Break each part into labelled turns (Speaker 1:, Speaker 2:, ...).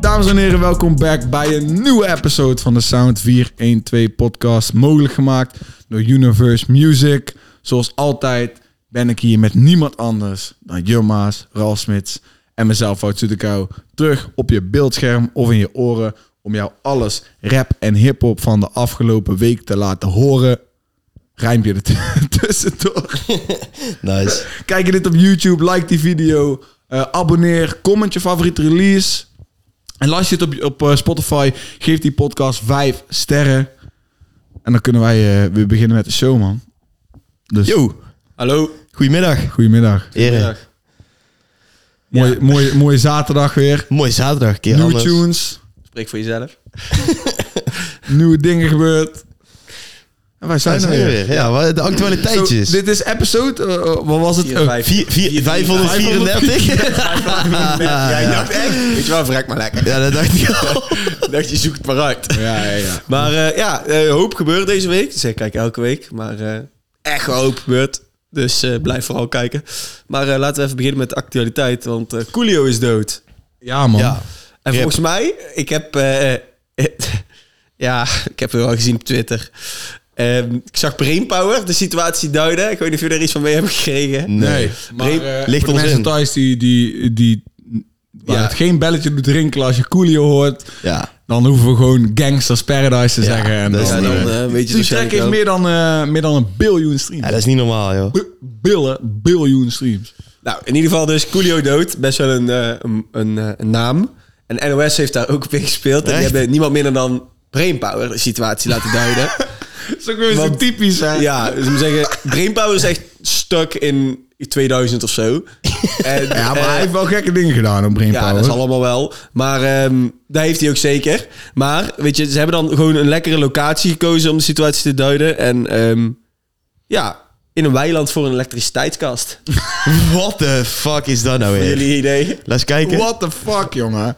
Speaker 1: dames en heren, welkom back bij een nieuwe episode van de Sound 412 podcast. Mogelijk gemaakt door Universe Music. Zoals altijd ben ik hier met niemand anders dan Jumma's, Ralf Smits en mezelf, Wout Soetekou. Terug op je beeldscherm of in je oren om jou alles rap en hiphop van de afgelopen week te laten horen. Rijmpje er t- tussendoor.
Speaker 2: Nice.
Speaker 1: Kijk je dit op YouTube, like die video, eh, abonneer, comment je favoriete release. En luister je het op, op eh, Spotify, geef die podcast 5 sterren. En dan kunnen wij eh, weer beginnen met de show, man. Dus,
Speaker 2: Yo,
Speaker 3: Hallo.
Speaker 2: goedemiddag.
Speaker 1: goedemiddag.
Speaker 2: Heren.
Speaker 1: Mooie, mooie, mooie zaterdag weer.
Speaker 2: Mooi zaterdag, een keer
Speaker 1: Nieuwe
Speaker 2: anders.
Speaker 1: tunes,
Speaker 3: Spreek voor jezelf.
Speaker 1: nieuwe dingen gebeurd. En wij
Speaker 2: Daar
Speaker 1: zijn er
Speaker 2: zijn we
Speaker 1: weer.
Speaker 2: weer. Ja, wat- de actualiteitjes.
Speaker 1: Zo, dit is episode, eh, eh, wat was het?
Speaker 3: Vier,
Speaker 1: Eh,
Speaker 3: vijf.
Speaker 2: Oh, Vier- vier- 534?
Speaker 3: Ja, ik dacht echt. Weet je wel, vrek maar lekker.
Speaker 2: ja, dat dacht ik al.
Speaker 3: Ik dacht, je zoekt het maar uit.
Speaker 1: ja, ja, ja.
Speaker 3: Maar eh, ja, eh, hoop gebeurt deze week. Dus ik kijk elke week. Maar eh, echt wel hoop gebeurt. Dus eh, blijf vooral kijken. Maar eh, laten we even beginnen met de actualiteit. Want eh Coolio is dood.
Speaker 1: Ja, man.
Speaker 2: Ja.
Speaker 3: En
Speaker 2: Rip.
Speaker 3: volgens mij, ik heb... eh, eh, ja, ik heb het wel gezien op Twitter. Ehm, ik zag Brainpower de situatie duiden. Ik weet niet of jullie er iets van mee hebben gekregen.
Speaker 1: Nee, maar
Speaker 3: Breed-
Speaker 1: eh,
Speaker 2: ligt
Speaker 1: voor de
Speaker 2: ons
Speaker 1: mensen
Speaker 2: in.
Speaker 1: thuis die, die, die waar
Speaker 3: Ja.
Speaker 1: het geen belletje doet rinkelen als je Coolio hoort,
Speaker 2: Ja.
Speaker 1: dan hoeven we gewoon Gangsters Paradise te
Speaker 2: Ja,
Speaker 1: zeggen. En
Speaker 2: dat
Speaker 1: dan,
Speaker 2: is
Speaker 3: Ja,
Speaker 2: niet-
Speaker 3: dan
Speaker 1: eh,
Speaker 3: eh, weet
Speaker 1: die
Speaker 3: je het
Speaker 1: track
Speaker 3: waarschijnlijk
Speaker 1: heeft
Speaker 3: wel.
Speaker 1: meer dan, eh, meer dan een biljoen streams.
Speaker 2: ja, dat is niet normaal, joh.
Speaker 1: B- Billen, biljoen streams.
Speaker 3: Nou, in ieder geval dus Coolio dood. Best wel een, eh, een, een, eh, een naam. En NOS heeft daar ook op ingespeeld. En die
Speaker 2: Echt?
Speaker 3: hebben niemand minder dan Brainpower de situatie laten duiden.
Speaker 1: Dat is ook weer zo
Speaker 3: Want-
Speaker 1: typisch, hè?
Speaker 3: ja, dus ik moet zeggen, Brainpower is echt stuk in 2000 of zo. En,
Speaker 1: Ja, maar
Speaker 3: eh,
Speaker 1: hij heeft wel gekke dingen gedaan op Brainpower.
Speaker 3: ja, dat is allemaal wel. Maar ehm dat heeft hij ook zeker. Maar weet je, ze hebben dan gewoon een lekkere locatie gekozen om de situatie te duiden. En ehm, ja, in een weiland voor een elektriciteitskast.
Speaker 2: What the fuck is dat nou weer?
Speaker 3: Jullie idee?
Speaker 2: Laat eens kijken.
Speaker 1: What the fuck, jongen?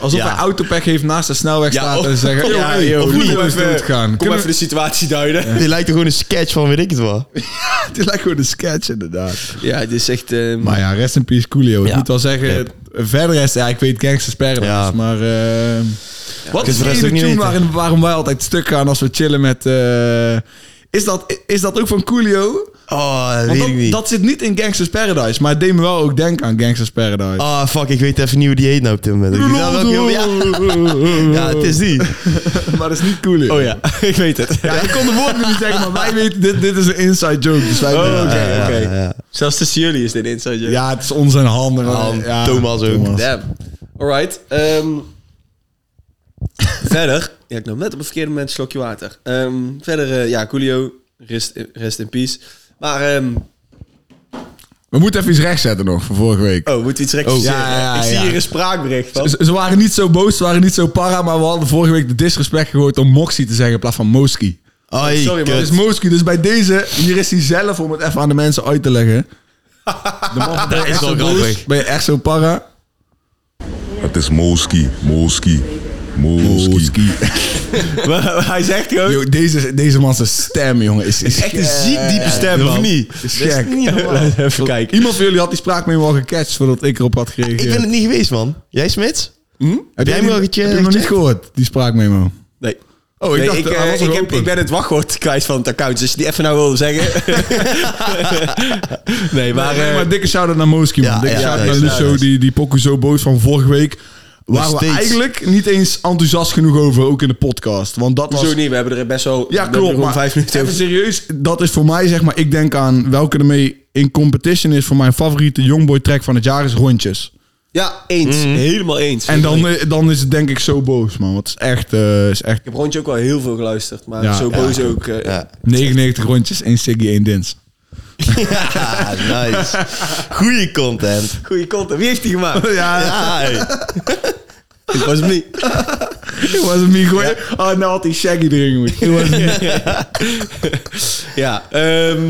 Speaker 1: Alsof
Speaker 2: Ja.
Speaker 1: hij autopack heeft naast de snelweg
Speaker 3: Ja,
Speaker 1: staat en
Speaker 3: oh,
Speaker 1: zeggen...
Speaker 3: kom
Speaker 1: "Yo,
Speaker 3: maar,
Speaker 1: hey,
Speaker 3: joh,
Speaker 1: Coolio
Speaker 3: kom
Speaker 1: is
Speaker 3: even-
Speaker 1: doodgaan.
Speaker 3: Kom
Speaker 1: Kunnen
Speaker 3: even de situatie duiden.
Speaker 2: Dit lijkt er gewoon een sketch van, weet ik het wel.
Speaker 1: we- Dit lijkt gewoon een sketch, inderdaad.
Speaker 3: Ja, het is echt... ehm,
Speaker 1: Maar ja, rest in peace Coolio. Ik
Speaker 2: Ja.
Speaker 1: moet wel zeggen,
Speaker 2: Rip.
Speaker 1: verder is... Ja, ik weet Gangsters Paradise,
Speaker 2: Ja.
Speaker 1: maar... eh, wat
Speaker 2: Kun je
Speaker 1: is
Speaker 2: voor de
Speaker 1: de
Speaker 2: rest ook
Speaker 1: tune
Speaker 2: niet weten.
Speaker 1: waarin, waarom wij altijd stuk gaan als we chillen met... eh, is, dat, is dat ook van Coolio?
Speaker 2: Oh, dat
Speaker 1: Want
Speaker 2: weet ik
Speaker 1: dat,
Speaker 2: niet.
Speaker 1: dat zit niet in Gangsters Paradise, maar het deed me wel ook denken aan Gangsters Paradise.
Speaker 2: Ah, fuck, ik weet even niet hoe die heet nou op dit moment. Ik weet wel welke- ja. ja, het is die.
Speaker 1: maar dat is niet Coolio.
Speaker 3: Oh ja, ik weet het.
Speaker 1: Ja, ik kon de woorden niet zeggen, maar wij weten, dit, dit is een inside joke. Dus wij
Speaker 3: Oh,
Speaker 1: weten-
Speaker 3: oké,
Speaker 2: Ja, ja,
Speaker 3: oké.
Speaker 2: ja.
Speaker 3: Zelfs tussen jullie is dit inside joke.
Speaker 1: Ja, het is ons en handen.
Speaker 2: Han, Thomas ook.
Speaker 3: Damn. Alright. ehm, verder. Ja, ik nam net op het verkeerde moment een slokje water. Ehm, verder, eh, ja, Coolio. Rest, rest in peace. Maar, ehm,
Speaker 1: We moeten even iets rechtzetten nog van vorige week.
Speaker 3: oh, moeten we iets rectificeren?
Speaker 1: Oh, ja, ja,
Speaker 3: ik zie
Speaker 1: ja.
Speaker 3: hier een spraakbericht van.
Speaker 1: Ze, ze waren niet zo boos, ze waren niet zo para, maar we hadden vorige week de disrespect gehoord om Moxie te zeggen in plaats van Moski.
Speaker 2: Ai,
Speaker 3: Sorry, man.
Speaker 1: Dat
Speaker 2: kut.
Speaker 1: is Moski, dus bij deze, hier is hij zelf om het even aan de mensen uit te leggen. De man van, ben je
Speaker 2: is
Speaker 1: echt
Speaker 2: wel
Speaker 1: zo boos?
Speaker 2: grappig.
Speaker 1: Ben je echt zo para?
Speaker 4: Het is Moski, Moski, Moski.
Speaker 3: Maar Hij zegt gewoon...
Speaker 1: Yo, deze, deze man zijn stem, jongen, is, is
Speaker 3: Echt een ziek diepe stem,
Speaker 2: Of
Speaker 3: man.
Speaker 2: niet?
Speaker 1: Is gek.
Speaker 3: Even kijken.
Speaker 1: Iemand van jullie had die spraakmemo al gecatcht voordat ik erop had gereageerd.
Speaker 2: Ik ben het niet geweest, man. Jij, Smits?
Speaker 1: heb
Speaker 2: jij
Speaker 1: jij die-
Speaker 2: hem al gecheckt?
Speaker 1: Heb je hem nog niet gehoord, die spraakmemo?
Speaker 3: Nee.
Speaker 1: Oh, ik
Speaker 3: Nee,
Speaker 1: dacht,
Speaker 3: ik,
Speaker 1: hij
Speaker 3: eh,
Speaker 1: was
Speaker 3: ik,
Speaker 1: nog
Speaker 3: heb,
Speaker 1: open.
Speaker 3: ik ben het wachtwoord kwijt van het account. Dus als je die even nou wil zeggen. nee, maar.
Speaker 1: Maar,
Speaker 3: eh,
Speaker 1: maar dikke shout-out naar Moski, man.
Speaker 2: Ja,
Speaker 1: dikke
Speaker 2: ja,
Speaker 1: shout-out
Speaker 2: ja,
Speaker 1: naar
Speaker 2: ja,
Speaker 1: Lusso,
Speaker 2: ja, ja.
Speaker 1: die, die pokoe zo boos van vorige week. Waar we
Speaker 2: steeds.
Speaker 1: eigenlijk niet eens enthousiast genoeg over, ook in de podcast. Want dat was...
Speaker 3: Hoezo niet? We hebben er best wel.
Speaker 1: Ja,
Speaker 3: we hebben
Speaker 1: klopt.
Speaker 3: er om
Speaker 1: Maar
Speaker 3: vijf minuten
Speaker 1: even
Speaker 3: over.
Speaker 1: serieus, dat is voor mij, zeg maar... Ik denk aan welke ermee in competition is voor mijn favoriete Youngboy-track van het jaar is Rondjes.
Speaker 3: Ja, eens. Helemaal eens.
Speaker 1: Mhm. En dan,
Speaker 3: Ik
Speaker 1: eh, dan is het denk ik zo boos, man. Want het is echt... eh, is echt
Speaker 3: heb rondje ook wel heel veel geluisterd. Maar
Speaker 1: Ja,
Speaker 3: zo
Speaker 1: ja.
Speaker 3: boos ook. eh,
Speaker 2: Ja.
Speaker 1: 99 rondjes, 1 Siggy, 1 Dins.
Speaker 2: Ja, nice. Goeie content.
Speaker 3: Goeie content. Wie heeft die gemaakt?
Speaker 1: Ah. Ja,
Speaker 2: Ja, hey.
Speaker 3: Ik was hem niet.
Speaker 1: het was een Miguel. Oh, nou had hij Shaggy erin moeten. Het was hem niet.
Speaker 3: Ja, ehm,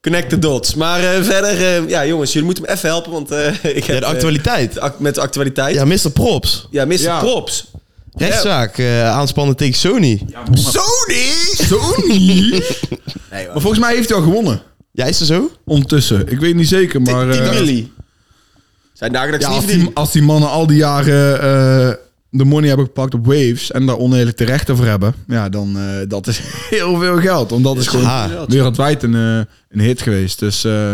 Speaker 3: connect the dots. Maar eh, verder, eh, ja jongens, jullie moeten me even helpen. Want eh, ik
Speaker 2: Ja,
Speaker 3: heb,
Speaker 2: de
Speaker 3: eh,
Speaker 2: actualiteit.
Speaker 3: de act- met de actualiteit.
Speaker 2: Ja,
Speaker 3: Ja,
Speaker 2: Mr. Props.
Speaker 3: Mr.
Speaker 1: Ja.
Speaker 3: Props.
Speaker 2: Rechtszaak eh, aanspannen tegen Sony.
Speaker 3: Sony!
Speaker 1: Sony?
Speaker 3: Nee, hoor.
Speaker 1: Maar volgens mij heeft hij al gewonnen.
Speaker 2: Ja, is dat zo?
Speaker 1: Ondertussen. Ik weet niet zeker, maar... eh,
Speaker 3: 10 milli. Zijn dagelijks
Speaker 1: ja,
Speaker 3: niet
Speaker 1: als,
Speaker 3: verdienen.
Speaker 1: die, als die mannen al die jaren eh, de money hebben gepakt op waves en daar onredelijk terecht over hebben, ja, dan eh, dat is heel veel geld. Want dat is gewoon
Speaker 2: Ah.
Speaker 1: wereldwijd een, eh, een hit geweest. Dus eh,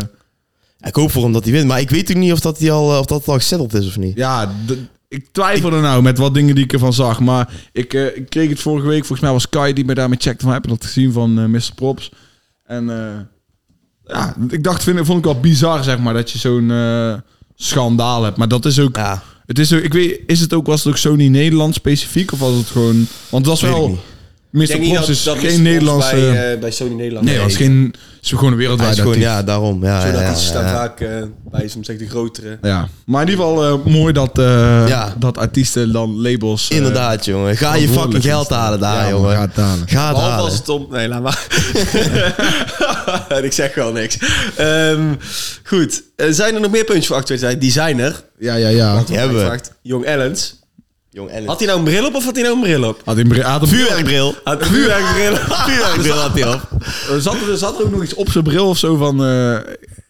Speaker 2: Ik hoop voor hem dat hij wint. Maar ik weet ook niet of dat, hij al, eh, of dat al gesetteld is of niet.
Speaker 1: ja, d- ik twijfel er nou met wat dingen die ik ervan zag. Maar ik, eh, ik kreeg het vorige week, volgens mij was Kai die mij daarmee checkte van heb je dat gezien van eh, Mr. Props. En eh, ja, ik dacht, vind, vond ik wel bizar zeg maar dat je zo'n eh, schandaal hebt. Maar dat is ook
Speaker 2: Ja.
Speaker 1: Het is, ook- ik weet, is het ook, was het ook Sony Nederland specifiek? Of was het gewoon... Want het was
Speaker 2: Weet ik
Speaker 1: wel...
Speaker 2: niet.
Speaker 1: Mr.
Speaker 3: Ik denk niet
Speaker 1: Props
Speaker 3: dat,
Speaker 1: is
Speaker 3: dat
Speaker 1: geen Nederlandse...
Speaker 3: Bij, eh, bij Sony Nederland.
Speaker 1: nee, het was geen... Het is gewoon een
Speaker 2: Hij
Speaker 1: wereldwijd
Speaker 2: is gewoon,
Speaker 1: artiest.
Speaker 2: ja, daarom. Ja,
Speaker 3: Zodat
Speaker 2: ja, ja,
Speaker 3: het staat
Speaker 2: ja.
Speaker 3: vaak eh, bij soms echt de grotere.
Speaker 1: Ja. Maar in ieder geval eh, mooi dat, eh,
Speaker 2: Ja.
Speaker 1: dat artiesten dan labels... eh,
Speaker 2: Inderdaad, jongen. Ga je fucking
Speaker 1: verantwoordelijk
Speaker 2: geld halen daar,
Speaker 1: Ja,
Speaker 2: jongen.
Speaker 1: ga het halen.
Speaker 2: Ga het
Speaker 3: Behalve
Speaker 2: halen.
Speaker 3: als het om... Nee, laat maar. en ik zeg wel niks. Ehm, goed. Eh, zijn er nog meer puntjes voor actualiteit? Designer.
Speaker 1: Ja, ja, ja.
Speaker 2: Die hebben we.
Speaker 3: Vraagt Jong Ellens.
Speaker 2: Jong
Speaker 3: Had hij nou een bril op of had hij nou een bril op?
Speaker 1: Had in Bre- had een-
Speaker 2: Vuurwerkbril.
Speaker 3: Had een vuurwerkbril
Speaker 2: Vuurwerkbril had hij op.
Speaker 1: Er zat, er zat ook nog iets op zijn bril of zo van... eh,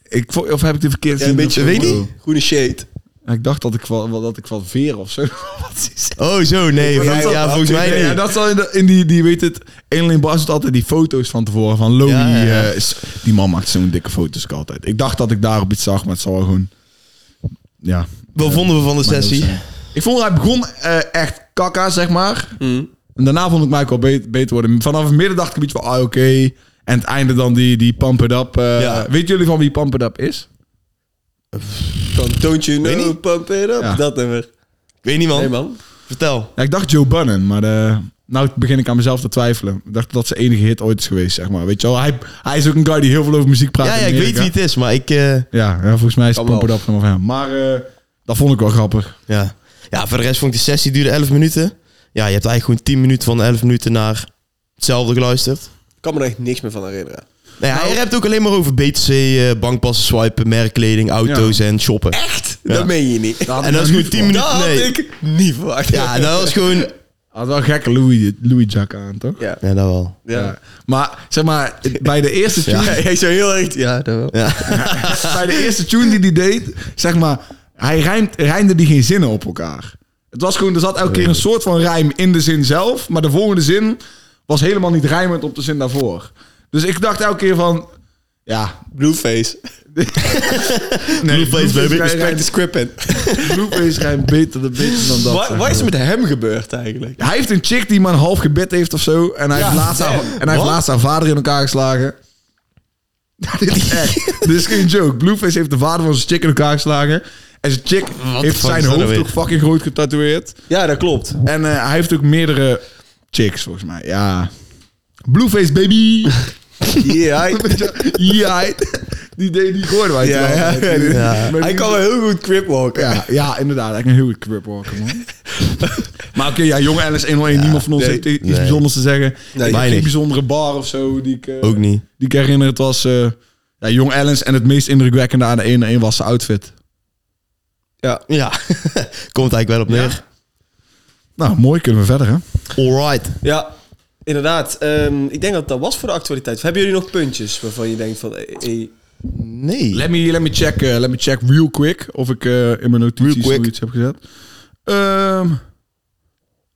Speaker 1: ik, vo- of heb ik de verkeerd
Speaker 3: Ja, een beetje,
Speaker 1: Weet
Speaker 3: weet
Speaker 1: niet.
Speaker 3: niet. Groene shade.
Speaker 1: Ik dacht dat ik van, dat ik van veer of zo. Wat is
Speaker 2: Oh, zo, nee.
Speaker 1: Maar
Speaker 2: volgens-
Speaker 1: dat-
Speaker 2: Ja,
Speaker 1: dat-
Speaker 2: volgens
Speaker 1: nee,
Speaker 2: mij
Speaker 1: Ja,
Speaker 2: niet.
Speaker 1: dat zal in, de- in die, die weet het. Eenling Bas doet altijd die foto's van tevoren van Loni.
Speaker 2: Ja, ja, ja.
Speaker 1: eh, is- die man maakt zo'n dikke foto's ook altijd. Ik dacht dat ik daarop iets zag, maar het zal wel gewoon. Ja.
Speaker 2: Wat vonden we van de sessie?
Speaker 1: Ik vond hij begon eh, echt kakka, zeg maar.
Speaker 2: Mm.
Speaker 1: En daarna vond ik mij ook wel beter, beter worden. Vanaf het midden dacht ik een beetje van, ah, oké. En het einde dan die, die Pump It Up. eh,
Speaker 2: Ja.
Speaker 1: Weet jullie van wie Pump It Up is?
Speaker 3: Van Don't You
Speaker 2: Weet
Speaker 3: Know, Pump It Up.
Speaker 1: Ja.
Speaker 3: Dat nummer.
Speaker 2: Ik weet niet,
Speaker 3: Nee,
Speaker 2: man.
Speaker 3: man.
Speaker 2: Vertel.
Speaker 1: Ja, ik dacht Joe Bunnan, maar eh, nou begin ik aan mezelf te twijfelen. Ik dacht dat zijn enige hit ooit is geweest, zeg maar. Weet je wel, hij, hij is ook een guy die heel veel over muziek praat.
Speaker 2: Ja,
Speaker 1: in
Speaker 2: ja, ik weet
Speaker 1: Amerika.
Speaker 2: wie het is, maar ik... eh,
Speaker 1: Ja, ja, volgens mij is
Speaker 3: Kan
Speaker 1: het Pump It
Speaker 3: wel.
Speaker 1: Up van hem. Maar eh, dat vond ik wel grappig.
Speaker 2: Ja. ja, voor de rest vond ik de sessie duurde 11 minuten. Ja, je hebt eigenlijk gewoon 10 minuten van de 11 minuten naar hetzelfde geluisterd.
Speaker 3: Ik kan me er echt niks meer van herinneren.
Speaker 2: Nee,
Speaker 3: Nou-
Speaker 2: hij hebt ook alleen maar over BTC, eh, bankpassen swipen, merkkleding, auto's en shoppen.
Speaker 3: Echt? Dat meen je niet.
Speaker 1: had
Speaker 2: En dat is gewoon 10
Speaker 3: dat
Speaker 2: minuten.
Speaker 3: had
Speaker 2: Nee.
Speaker 3: ik niet verwacht.
Speaker 2: Ja, dat was gewoon.
Speaker 1: Hij had wel een gekke Louis, Louis Jack aan, toch?
Speaker 3: Ja.
Speaker 2: Ja, dat wel.
Speaker 3: Ja.
Speaker 1: Maar zeg maar, bij de eerste tune,
Speaker 3: Ja, Hij zou heel echt... Ja, dat wel.
Speaker 2: Ja.
Speaker 1: bij de eerste tune die hij deed, zeg maar, hij rijmt, rijmde die geen zinnen op elkaar. Het was gewoon, er zat elke keer een soort van rijm in de zin zelf, maar de volgende zin was helemaal niet rijmend op de zin daarvoor. Dus ik dacht elke keer van, ja,
Speaker 3: Blueface.
Speaker 1: nee,
Speaker 2: Blueface, baby.
Speaker 1: rijmt-
Speaker 3: Respect the script.
Speaker 1: Blueface rijmt beter, dan- beter dan dat.
Speaker 3: Wat
Speaker 1: zeg
Speaker 3: wat is
Speaker 1: maar.
Speaker 3: er met hem gebeurd eigenlijk?
Speaker 1: Hij heeft een chick die maar een half gebed heeft of zo. En hij, heeft, laatst haar, en hij heeft laatst haar vader in elkaar geslagen. dit is echt. dit is geen joke. Blueface heeft de vader van zijn chick in elkaar geslagen. En zijn chick heeft
Speaker 2: fuck is
Speaker 1: zijn
Speaker 2: dat nou
Speaker 1: hoofd
Speaker 2: weer?
Speaker 1: ook fucking groot getatoeëerd.
Speaker 3: Ja, dat klopt.
Speaker 1: En eh, hij heeft ook meerdere chicks, volgens mij. Ja. Blueface, baby.
Speaker 3: Ja, hij,
Speaker 1: ja. Die deed die gooiden wij
Speaker 3: ja, ja,
Speaker 1: toen altijd. Met
Speaker 3: hij
Speaker 1: die-
Speaker 3: kan wel heel goed cripwalken.
Speaker 1: ja, ja, inderdaad. Eigenlijk een heel goed cripwalker, man. maar oké, ja, jonge Alice 101. niemand van ons
Speaker 3: nee,
Speaker 1: heeft i- iets
Speaker 2: nee.
Speaker 1: bijzonders te zeggen. ik heb geen
Speaker 2: weinig.
Speaker 1: bijzondere bar of zo die ik, eh,
Speaker 2: Ook niet.
Speaker 1: die ik herinner. Het was eh, ja, jong Alice en het meest indrukwekkende aan de 101 was zijn outfit.
Speaker 2: Ja. Komt eigenlijk wel op neer.
Speaker 1: Nou, mooi. Kunnen we verder, hè?
Speaker 2: Alright.
Speaker 3: Ja, inderdaad. Ehm, ik denk dat dat was voor de actualiteit. Of hebben jullie nog puntjes waarvan je denkt van... eh, eh,
Speaker 2: Nee.
Speaker 1: Let me, let me check, eh, let me check real quick of ik eh, in mijn notities
Speaker 2: Real quick.
Speaker 1: zoiets heb gezet. Ehm,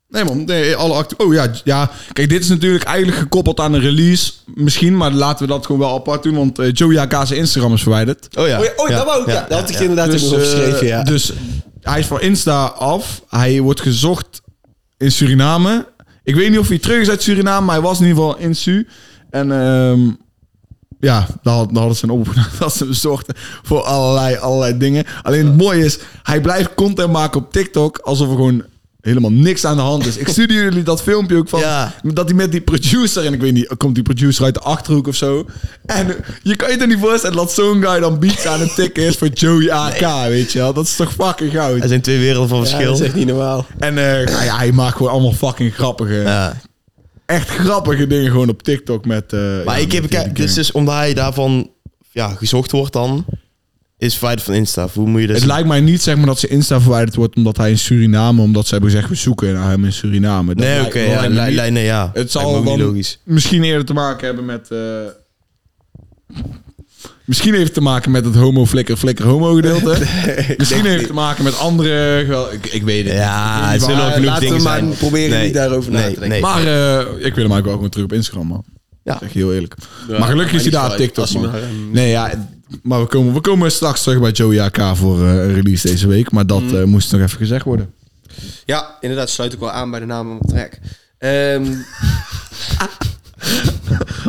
Speaker 1: nee man, nee, alle act- Oh ja, ja, kijk, dit is natuurlijk eigenlijk gekoppeld aan een release, misschien, maar laten we dat gewoon wel apart doen, want eh Joey AK zijn Instagram is verwijderd.
Speaker 2: Oh ja.
Speaker 3: Oh, ja, oh dat wou ik. Ja, dat had ik inderdaad ook nog
Speaker 1: eh,
Speaker 3: geschreven, ja.
Speaker 1: dus hij is van Insta af, hij wordt gezocht in Suriname. Ik weet niet of hij terug is uit Suriname, maar hij was in ieder geval in Su. En ehm, ja, daar had- daar hadden ze een oproep gedaan. Dat ze hem zochten voor allerlei, allerlei dingen. Alleen het mooie is, hij blijft content maken op TikTok alsof er gewoon helemaal niks aan de hand is. Ik stuurde jullie dat filmpje ook van
Speaker 2: Ja.
Speaker 1: dat hij met die producer en ik weet niet, komt die producer uit de achterhoek of zo. En je kan je toch niet voorstellen dat zo'n guy dan beats aan het tikken is voor Joey AK, weet je wel? Dat is toch fucking
Speaker 2: Er
Speaker 1: goud.
Speaker 2: zijn twee werelden van
Speaker 3: Ja, dat
Speaker 2: verschil.
Speaker 3: is echt niet normaal.
Speaker 1: En eh, nou ja, hij maakt gewoon allemaal fucking grappige,
Speaker 2: Ja.
Speaker 1: echt grappige dingen gewoon op TikTok met. eh,
Speaker 2: Maar
Speaker 1: ja,
Speaker 2: ik heb...
Speaker 1: met die
Speaker 2: Kijk, dus,
Speaker 1: gang.
Speaker 2: dus omdat hij daarvan ja, gezocht wordt dan, is verwijderd van Insta. Hoe moet je dat
Speaker 1: Het
Speaker 2: zien?
Speaker 1: lijkt mij niet zeg maar, dat ze Insta verwijderd wordt omdat hij in Suriname, omdat ze hebben gezegd we zoeken naar hem in Suriname. Dat
Speaker 2: Nee, oké.
Speaker 1: lijkt- dat
Speaker 2: ja,
Speaker 1: lijkt me
Speaker 2: li-
Speaker 1: niet.
Speaker 2: li- nee, ja.
Speaker 1: Het
Speaker 2: Lijkt me
Speaker 1: zal
Speaker 2: ook
Speaker 1: dan
Speaker 2: niet logisch.
Speaker 1: misschien eerder te maken hebben met... eh, Misschien heeft het te maken met het homo-flikker-flikker-homo-gedeelte. Misschien heeft het te maken met andere... gewel- Ik, ik weet het niet.
Speaker 2: Ja, het
Speaker 1: waar.
Speaker 2: zullen wel
Speaker 1: Eh,
Speaker 2: genoeg
Speaker 3: laten we
Speaker 2: dingen
Speaker 3: maar
Speaker 2: zijn.
Speaker 3: proberen niet daarover na
Speaker 2: nee,
Speaker 3: te denken.
Speaker 2: Nee,
Speaker 1: Maar eh, ik wil hem eigenlijk wel gewoon terug op Instagram, man.
Speaker 2: Ja.
Speaker 1: Ja. Zeg je heel eerlijk.
Speaker 3: maar
Speaker 1: maar gelukkig is hij
Speaker 3: niet
Speaker 1: daar op
Speaker 3: vooruit.
Speaker 1: TikTok,
Speaker 3: Als hij
Speaker 1: man.
Speaker 3: maar, ehm,
Speaker 1: Nee, ja... Maar we komen, we komen straks terug bij Joey AK voor eh, een release deze week. Maar dat eh, moest nog even gezegd worden.
Speaker 3: Ja, inderdaad, sluit ik wel aan bij de naam van mijn track. Ehm,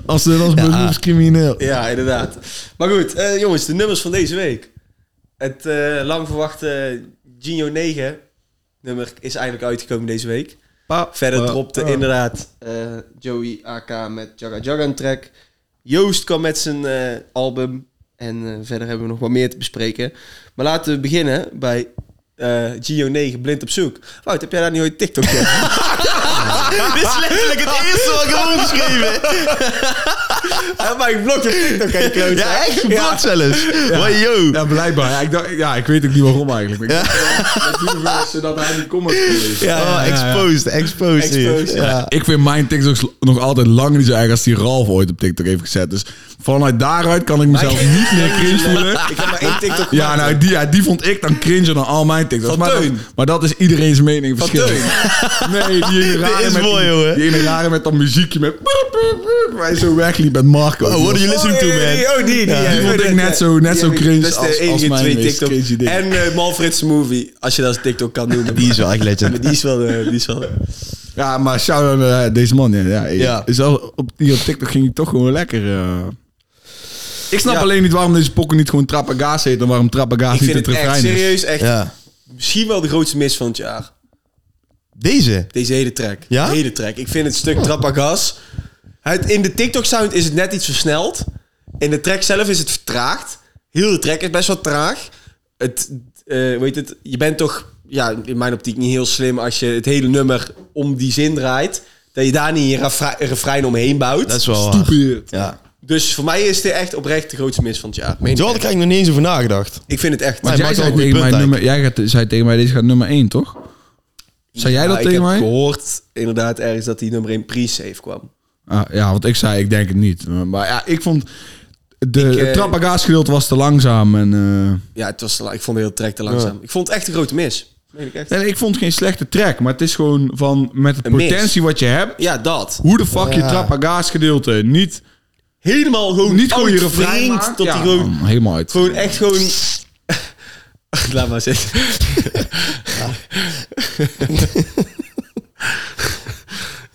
Speaker 1: Als dit als beroepscrimineel.
Speaker 3: ja, inderdaad. Maar goed, eh, jongens, de nummers van deze week. Het eh, lang verwachte Gino 9 nummer is eindelijk uitgekomen deze week. Verder dropte inderdaad eh, Joey AK met Jaga Jaga een track. Joost kwam met zijn eh, album. En eh, verder hebben we nog wat meer te bespreken. Maar laten we beginnen bij eh Gio 9 Blind op Zoek. Wout, heb jij daar niet ooit TikTok op?
Speaker 2: Dit is letterlijk het eerste wat ik heb opgeschreven.
Speaker 3: maar ik blokte TikTok aan je klote.
Speaker 2: Ja, echt geblokt zelfs. Wow, yo.
Speaker 1: Ja, blijkbaar. Ja ik, dacht, ja, ik weet ook niet waarom eigenlijk. Maar ik dacht, eh, dat doen we zodat hij die comments kan lezen.
Speaker 2: Ja,
Speaker 1: ja, ja.
Speaker 2: exposed, exposed. hier.
Speaker 3: Exposed, ja.
Speaker 2: ja.
Speaker 1: Ik vind mijn TikToks nog altijd langer niet zo erg als die Ralf ooit op TikTok heeft gezet. Dus vanuit daaruit kan ik mezelf niet meer cringe voelen.
Speaker 3: Ik heb maar één TikTok
Speaker 1: Ja, nou, die, ja, die vond ik dan cringer dan al mijn TikToks.
Speaker 3: Van
Speaker 1: maar, dat,
Speaker 3: Teun.
Speaker 1: maar dat is iedereen's mening verschillend. Nee, die ene rare
Speaker 2: Dit is
Speaker 1: met,
Speaker 2: mooi,
Speaker 1: die,
Speaker 2: jongen.
Speaker 1: die ene rare met dat muziekje met... Waar je zo wegliep met Marco.
Speaker 2: Oh, what are you listening to,
Speaker 3: Oh, die-
Speaker 2: man?
Speaker 3: die- Oh, die, die, ja,
Speaker 1: die vond ik net zo- net zo
Speaker 3: heb ik-
Speaker 1: cringe
Speaker 3: dat is de
Speaker 1: als- als
Speaker 3: enige
Speaker 1: mijn
Speaker 3: twee
Speaker 1: meest
Speaker 3: TikTok.
Speaker 1: cringy ding.
Speaker 3: En eh, Malfred's Movie, als je dat als TikTok kan noemen.
Speaker 2: Die is wel echt legend.
Speaker 3: Maar die is wel... eh, die is wel
Speaker 1: Ja, maar shout-out naar eh, deze man. Ja, ja,
Speaker 2: Ja.
Speaker 1: Is al op, hier op TikTok ging hij toch gewoon lekker. eh. Ik snap
Speaker 3: Ja.
Speaker 1: alleen niet waarom deze pokken niet gewoon Trapagaas heet en waarom Trapagaas
Speaker 3: ik
Speaker 1: niet
Speaker 3: vind
Speaker 1: het
Speaker 3: het echt,
Speaker 1: refrein is.
Speaker 3: serieus, echt
Speaker 2: Ja.
Speaker 3: misschien wel de grootste mis van het jaar.
Speaker 2: Deze?
Speaker 3: Deze hele track.
Speaker 2: Ja?
Speaker 3: De hele track. Ik vind het stuk Trapagas. Het, in de TikTok-sound is het net iets versneld. In de track zelf is het vertraagd. Heel de track is best wel traag. Het, eh, weet het, je bent toch ja, in mijn optiek niet heel slim als je het hele nummer om die zin draait. Dat je daar niet een refre- een refrein omheen bouwt.
Speaker 2: Dat is wel waar.
Speaker 1: Stupid.
Speaker 2: Ja.
Speaker 3: Dus voor mij is dit echt oprecht de grootste mis van het jaar. Meen
Speaker 2: Zo had ik eigenlijk nog niet eens over nagedacht.
Speaker 3: Ik vind het echt.
Speaker 2: Maar
Speaker 1: Want
Speaker 2: hij
Speaker 1: jij
Speaker 2: maakt wel
Speaker 1: zei
Speaker 2: een goed
Speaker 1: tegen mij,
Speaker 2: punt
Speaker 1: nummer, jij gaat, zei tegen mij, deze gaat nummer 1, toch? Zei jij
Speaker 3: Ja,
Speaker 1: dat tegen
Speaker 3: Ik
Speaker 1: mij?
Speaker 3: heb gehoord inderdaad ergens dat die nummer 1 pre-save kwam.
Speaker 1: Ah, ja, want ik zei, ik denk het niet. Maar, maar ja, ik vond... De,
Speaker 3: Ik, eh,
Speaker 1: het Trapagaas gedeelte was te langzaam. En, eh,
Speaker 3: Ja, het was, te la- ik vond de hele track te langzaam. Ik vond het echt een grote mis. Meen ik echt.
Speaker 1: en ik vond geen slechte track, maar het is gewoon van met het
Speaker 3: Een mis.
Speaker 1: potentie wat je hebt.
Speaker 3: Ja, dat.
Speaker 1: Hoe de fuck je
Speaker 2: Ja.
Speaker 1: Trapagaas gedeelte niet
Speaker 3: Helemaal gewoon
Speaker 1: niet gewoon je refrein
Speaker 3: uitvreemd
Speaker 1: maakt.
Speaker 3: Oh, Tot
Speaker 1: Ja,
Speaker 3: hij gewoon,
Speaker 1: man, helemaal uit.
Speaker 3: gewoon echt gewoon... Laat maar zitten.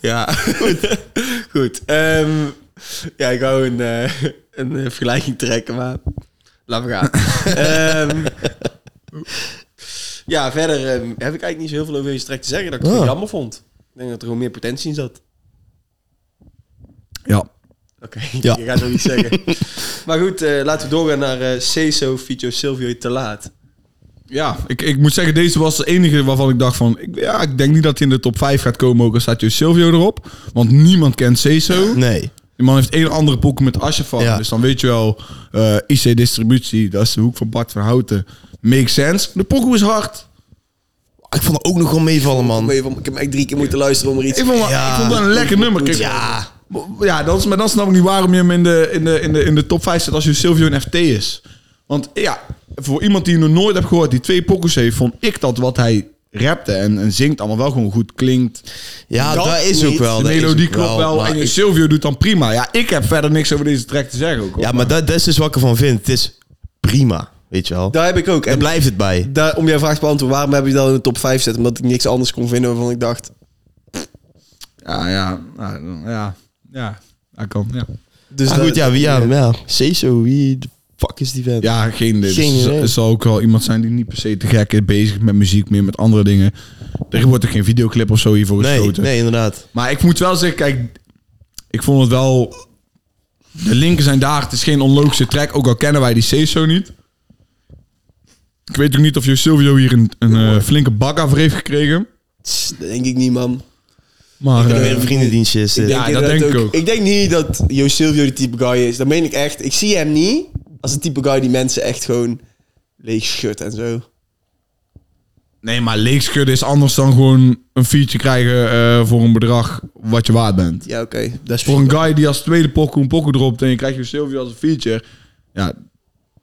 Speaker 3: Ja. Goed. Goed. ehm, ja, ik wou een, eh, een eh, vergelijking trekken, maar... Laat me gaan. Ehm, ja, verder ehm, heb ik eigenlijk niet zo heel veel over deze track te zeggen. Dat ik het
Speaker 2: Ja.
Speaker 3: gewoon jammer vond. Ik denk dat er gewoon meer potentie in zat.
Speaker 1: Ja.
Speaker 3: Oké,
Speaker 2: Ja.
Speaker 3: je gaat nog iets zeggen. maar goed, eh, laten we doorgaan naar eh Ceso, Vito, Silvio, Te Laat.
Speaker 1: Ja, ik, ik moet zeggen, deze was de enige waarvan ik dacht van... Ik, ja, ik denk niet dat hij in de top 5 gaat komen, ook al staat Jo Silvio erop. Want niemand kent Ceso.
Speaker 2: Nee.
Speaker 1: Die man heeft één andere poek met Asjefan.
Speaker 2: Ja.
Speaker 1: Dus dan weet je wel, eh, IC-distributie, dat is de hoek van Bart van Houten. Makes sense. De pokoe is hard.
Speaker 2: Ik vond het ook nog wel meevallen,
Speaker 3: Ik
Speaker 2: man.
Speaker 3: heb eigenlijk drie keer moeten luisteren om er iets...
Speaker 1: Ik vond, wel-
Speaker 2: Ja.
Speaker 1: ik vond dat een lekker nummer. Kijk,
Speaker 2: Ja.
Speaker 1: Ja, dat is, maar dan snap ik niet waarom je hem in de, in de, in de, in de top 5 zet als je Silvio een FT is. Want ja, voor iemand die nog nooit heb gehoord, die twee pokkers heeft, vond ik dat wat hij rapte en, en zingt allemaal wel gewoon goed klinkt.
Speaker 2: Ja, dat,
Speaker 3: Dat
Speaker 2: is ook
Speaker 3: niet.
Speaker 2: wel.
Speaker 1: de
Speaker 2: dat is
Speaker 1: melodie
Speaker 2: ook
Speaker 1: klopt wel,
Speaker 2: maar
Speaker 1: en je
Speaker 2: ik-
Speaker 1: Silvio doet dan prima. Ja, ik heb verder niks over deze track te zeggen ook. hoor.
Speaker 2: Ja, maar dat, dat is dus wat ik ervan vind. Het is prima, weet je wel.
Speaker 3: Daar heb ik ook.
Speaker 2: Daar
Speaker 3: En
Speaker 2: blijft het bij.
Speaker 3: daar, om jouw vraag te beantwoorden, waarom heb je dat in de top 5 zet? Omdat ik niks anders kon vinden waarvan ik dacht...
Speaker 1: ja, ja, ja, ja, ja, dat kan, Ah, ja.
Speaker 3: Dus
Speaker 2: Maar
Speaker 3: dat-
Speaker 2: goed, ja, wie, ja, ja. Ceso, wie de fuck is die vent?
Speaker 1: Ja, geen idee.
Speaker 2: Geen
Speaker 1: Dus
Speaker 2: idee.
Speaker 1: Het zal ook wel iemand zijn die niet per se te gek is bezig met muziek, meer met andere dingen. Er wordt er geen videoclip of zo hiervoor
Speaker 2: nee,
Speaker 1: geschoten.
Speaker 2: nee, inderdaad.
Speaker 1: Maar ik moet wel zeggen, kijk, ik vond het wel. De linken zijn daar. Het is geen onlogische track, ook al kennen wij die CSO niet. Ik weet ook niet of je Silvio hier een, een eh, flinke bak aan voor heeft gekregen.
Speaker 3: Tss, Dat denk ik niet, man.
Speaker 1: Maar
Speaker 2: Weer
Speaker 1: eh,
Speaker 2: een vriendendienstje is dit.
Speaker 1: Ja, dat
Speaker 3: inderdaad
Speaker 1: denk ik ook.
Speaker 3: Ik denk niet dat Jo Silvio de type guy is. Dat meen ik echt. Ik zie hem niet als de type guy die mensen echt gewoon leeg schudt en zo.
Speaker 1: nee, maar leegschudden is anders dan gewoon een feature krijgen eh, voor een bedrag wat je waard bent.
Speaker 3: Ja, oké. Dat is
Speaker 1: Voor een guy die als tweede pokoe een pokoe dropt en je krijgt je Silvio als een feature. Ja,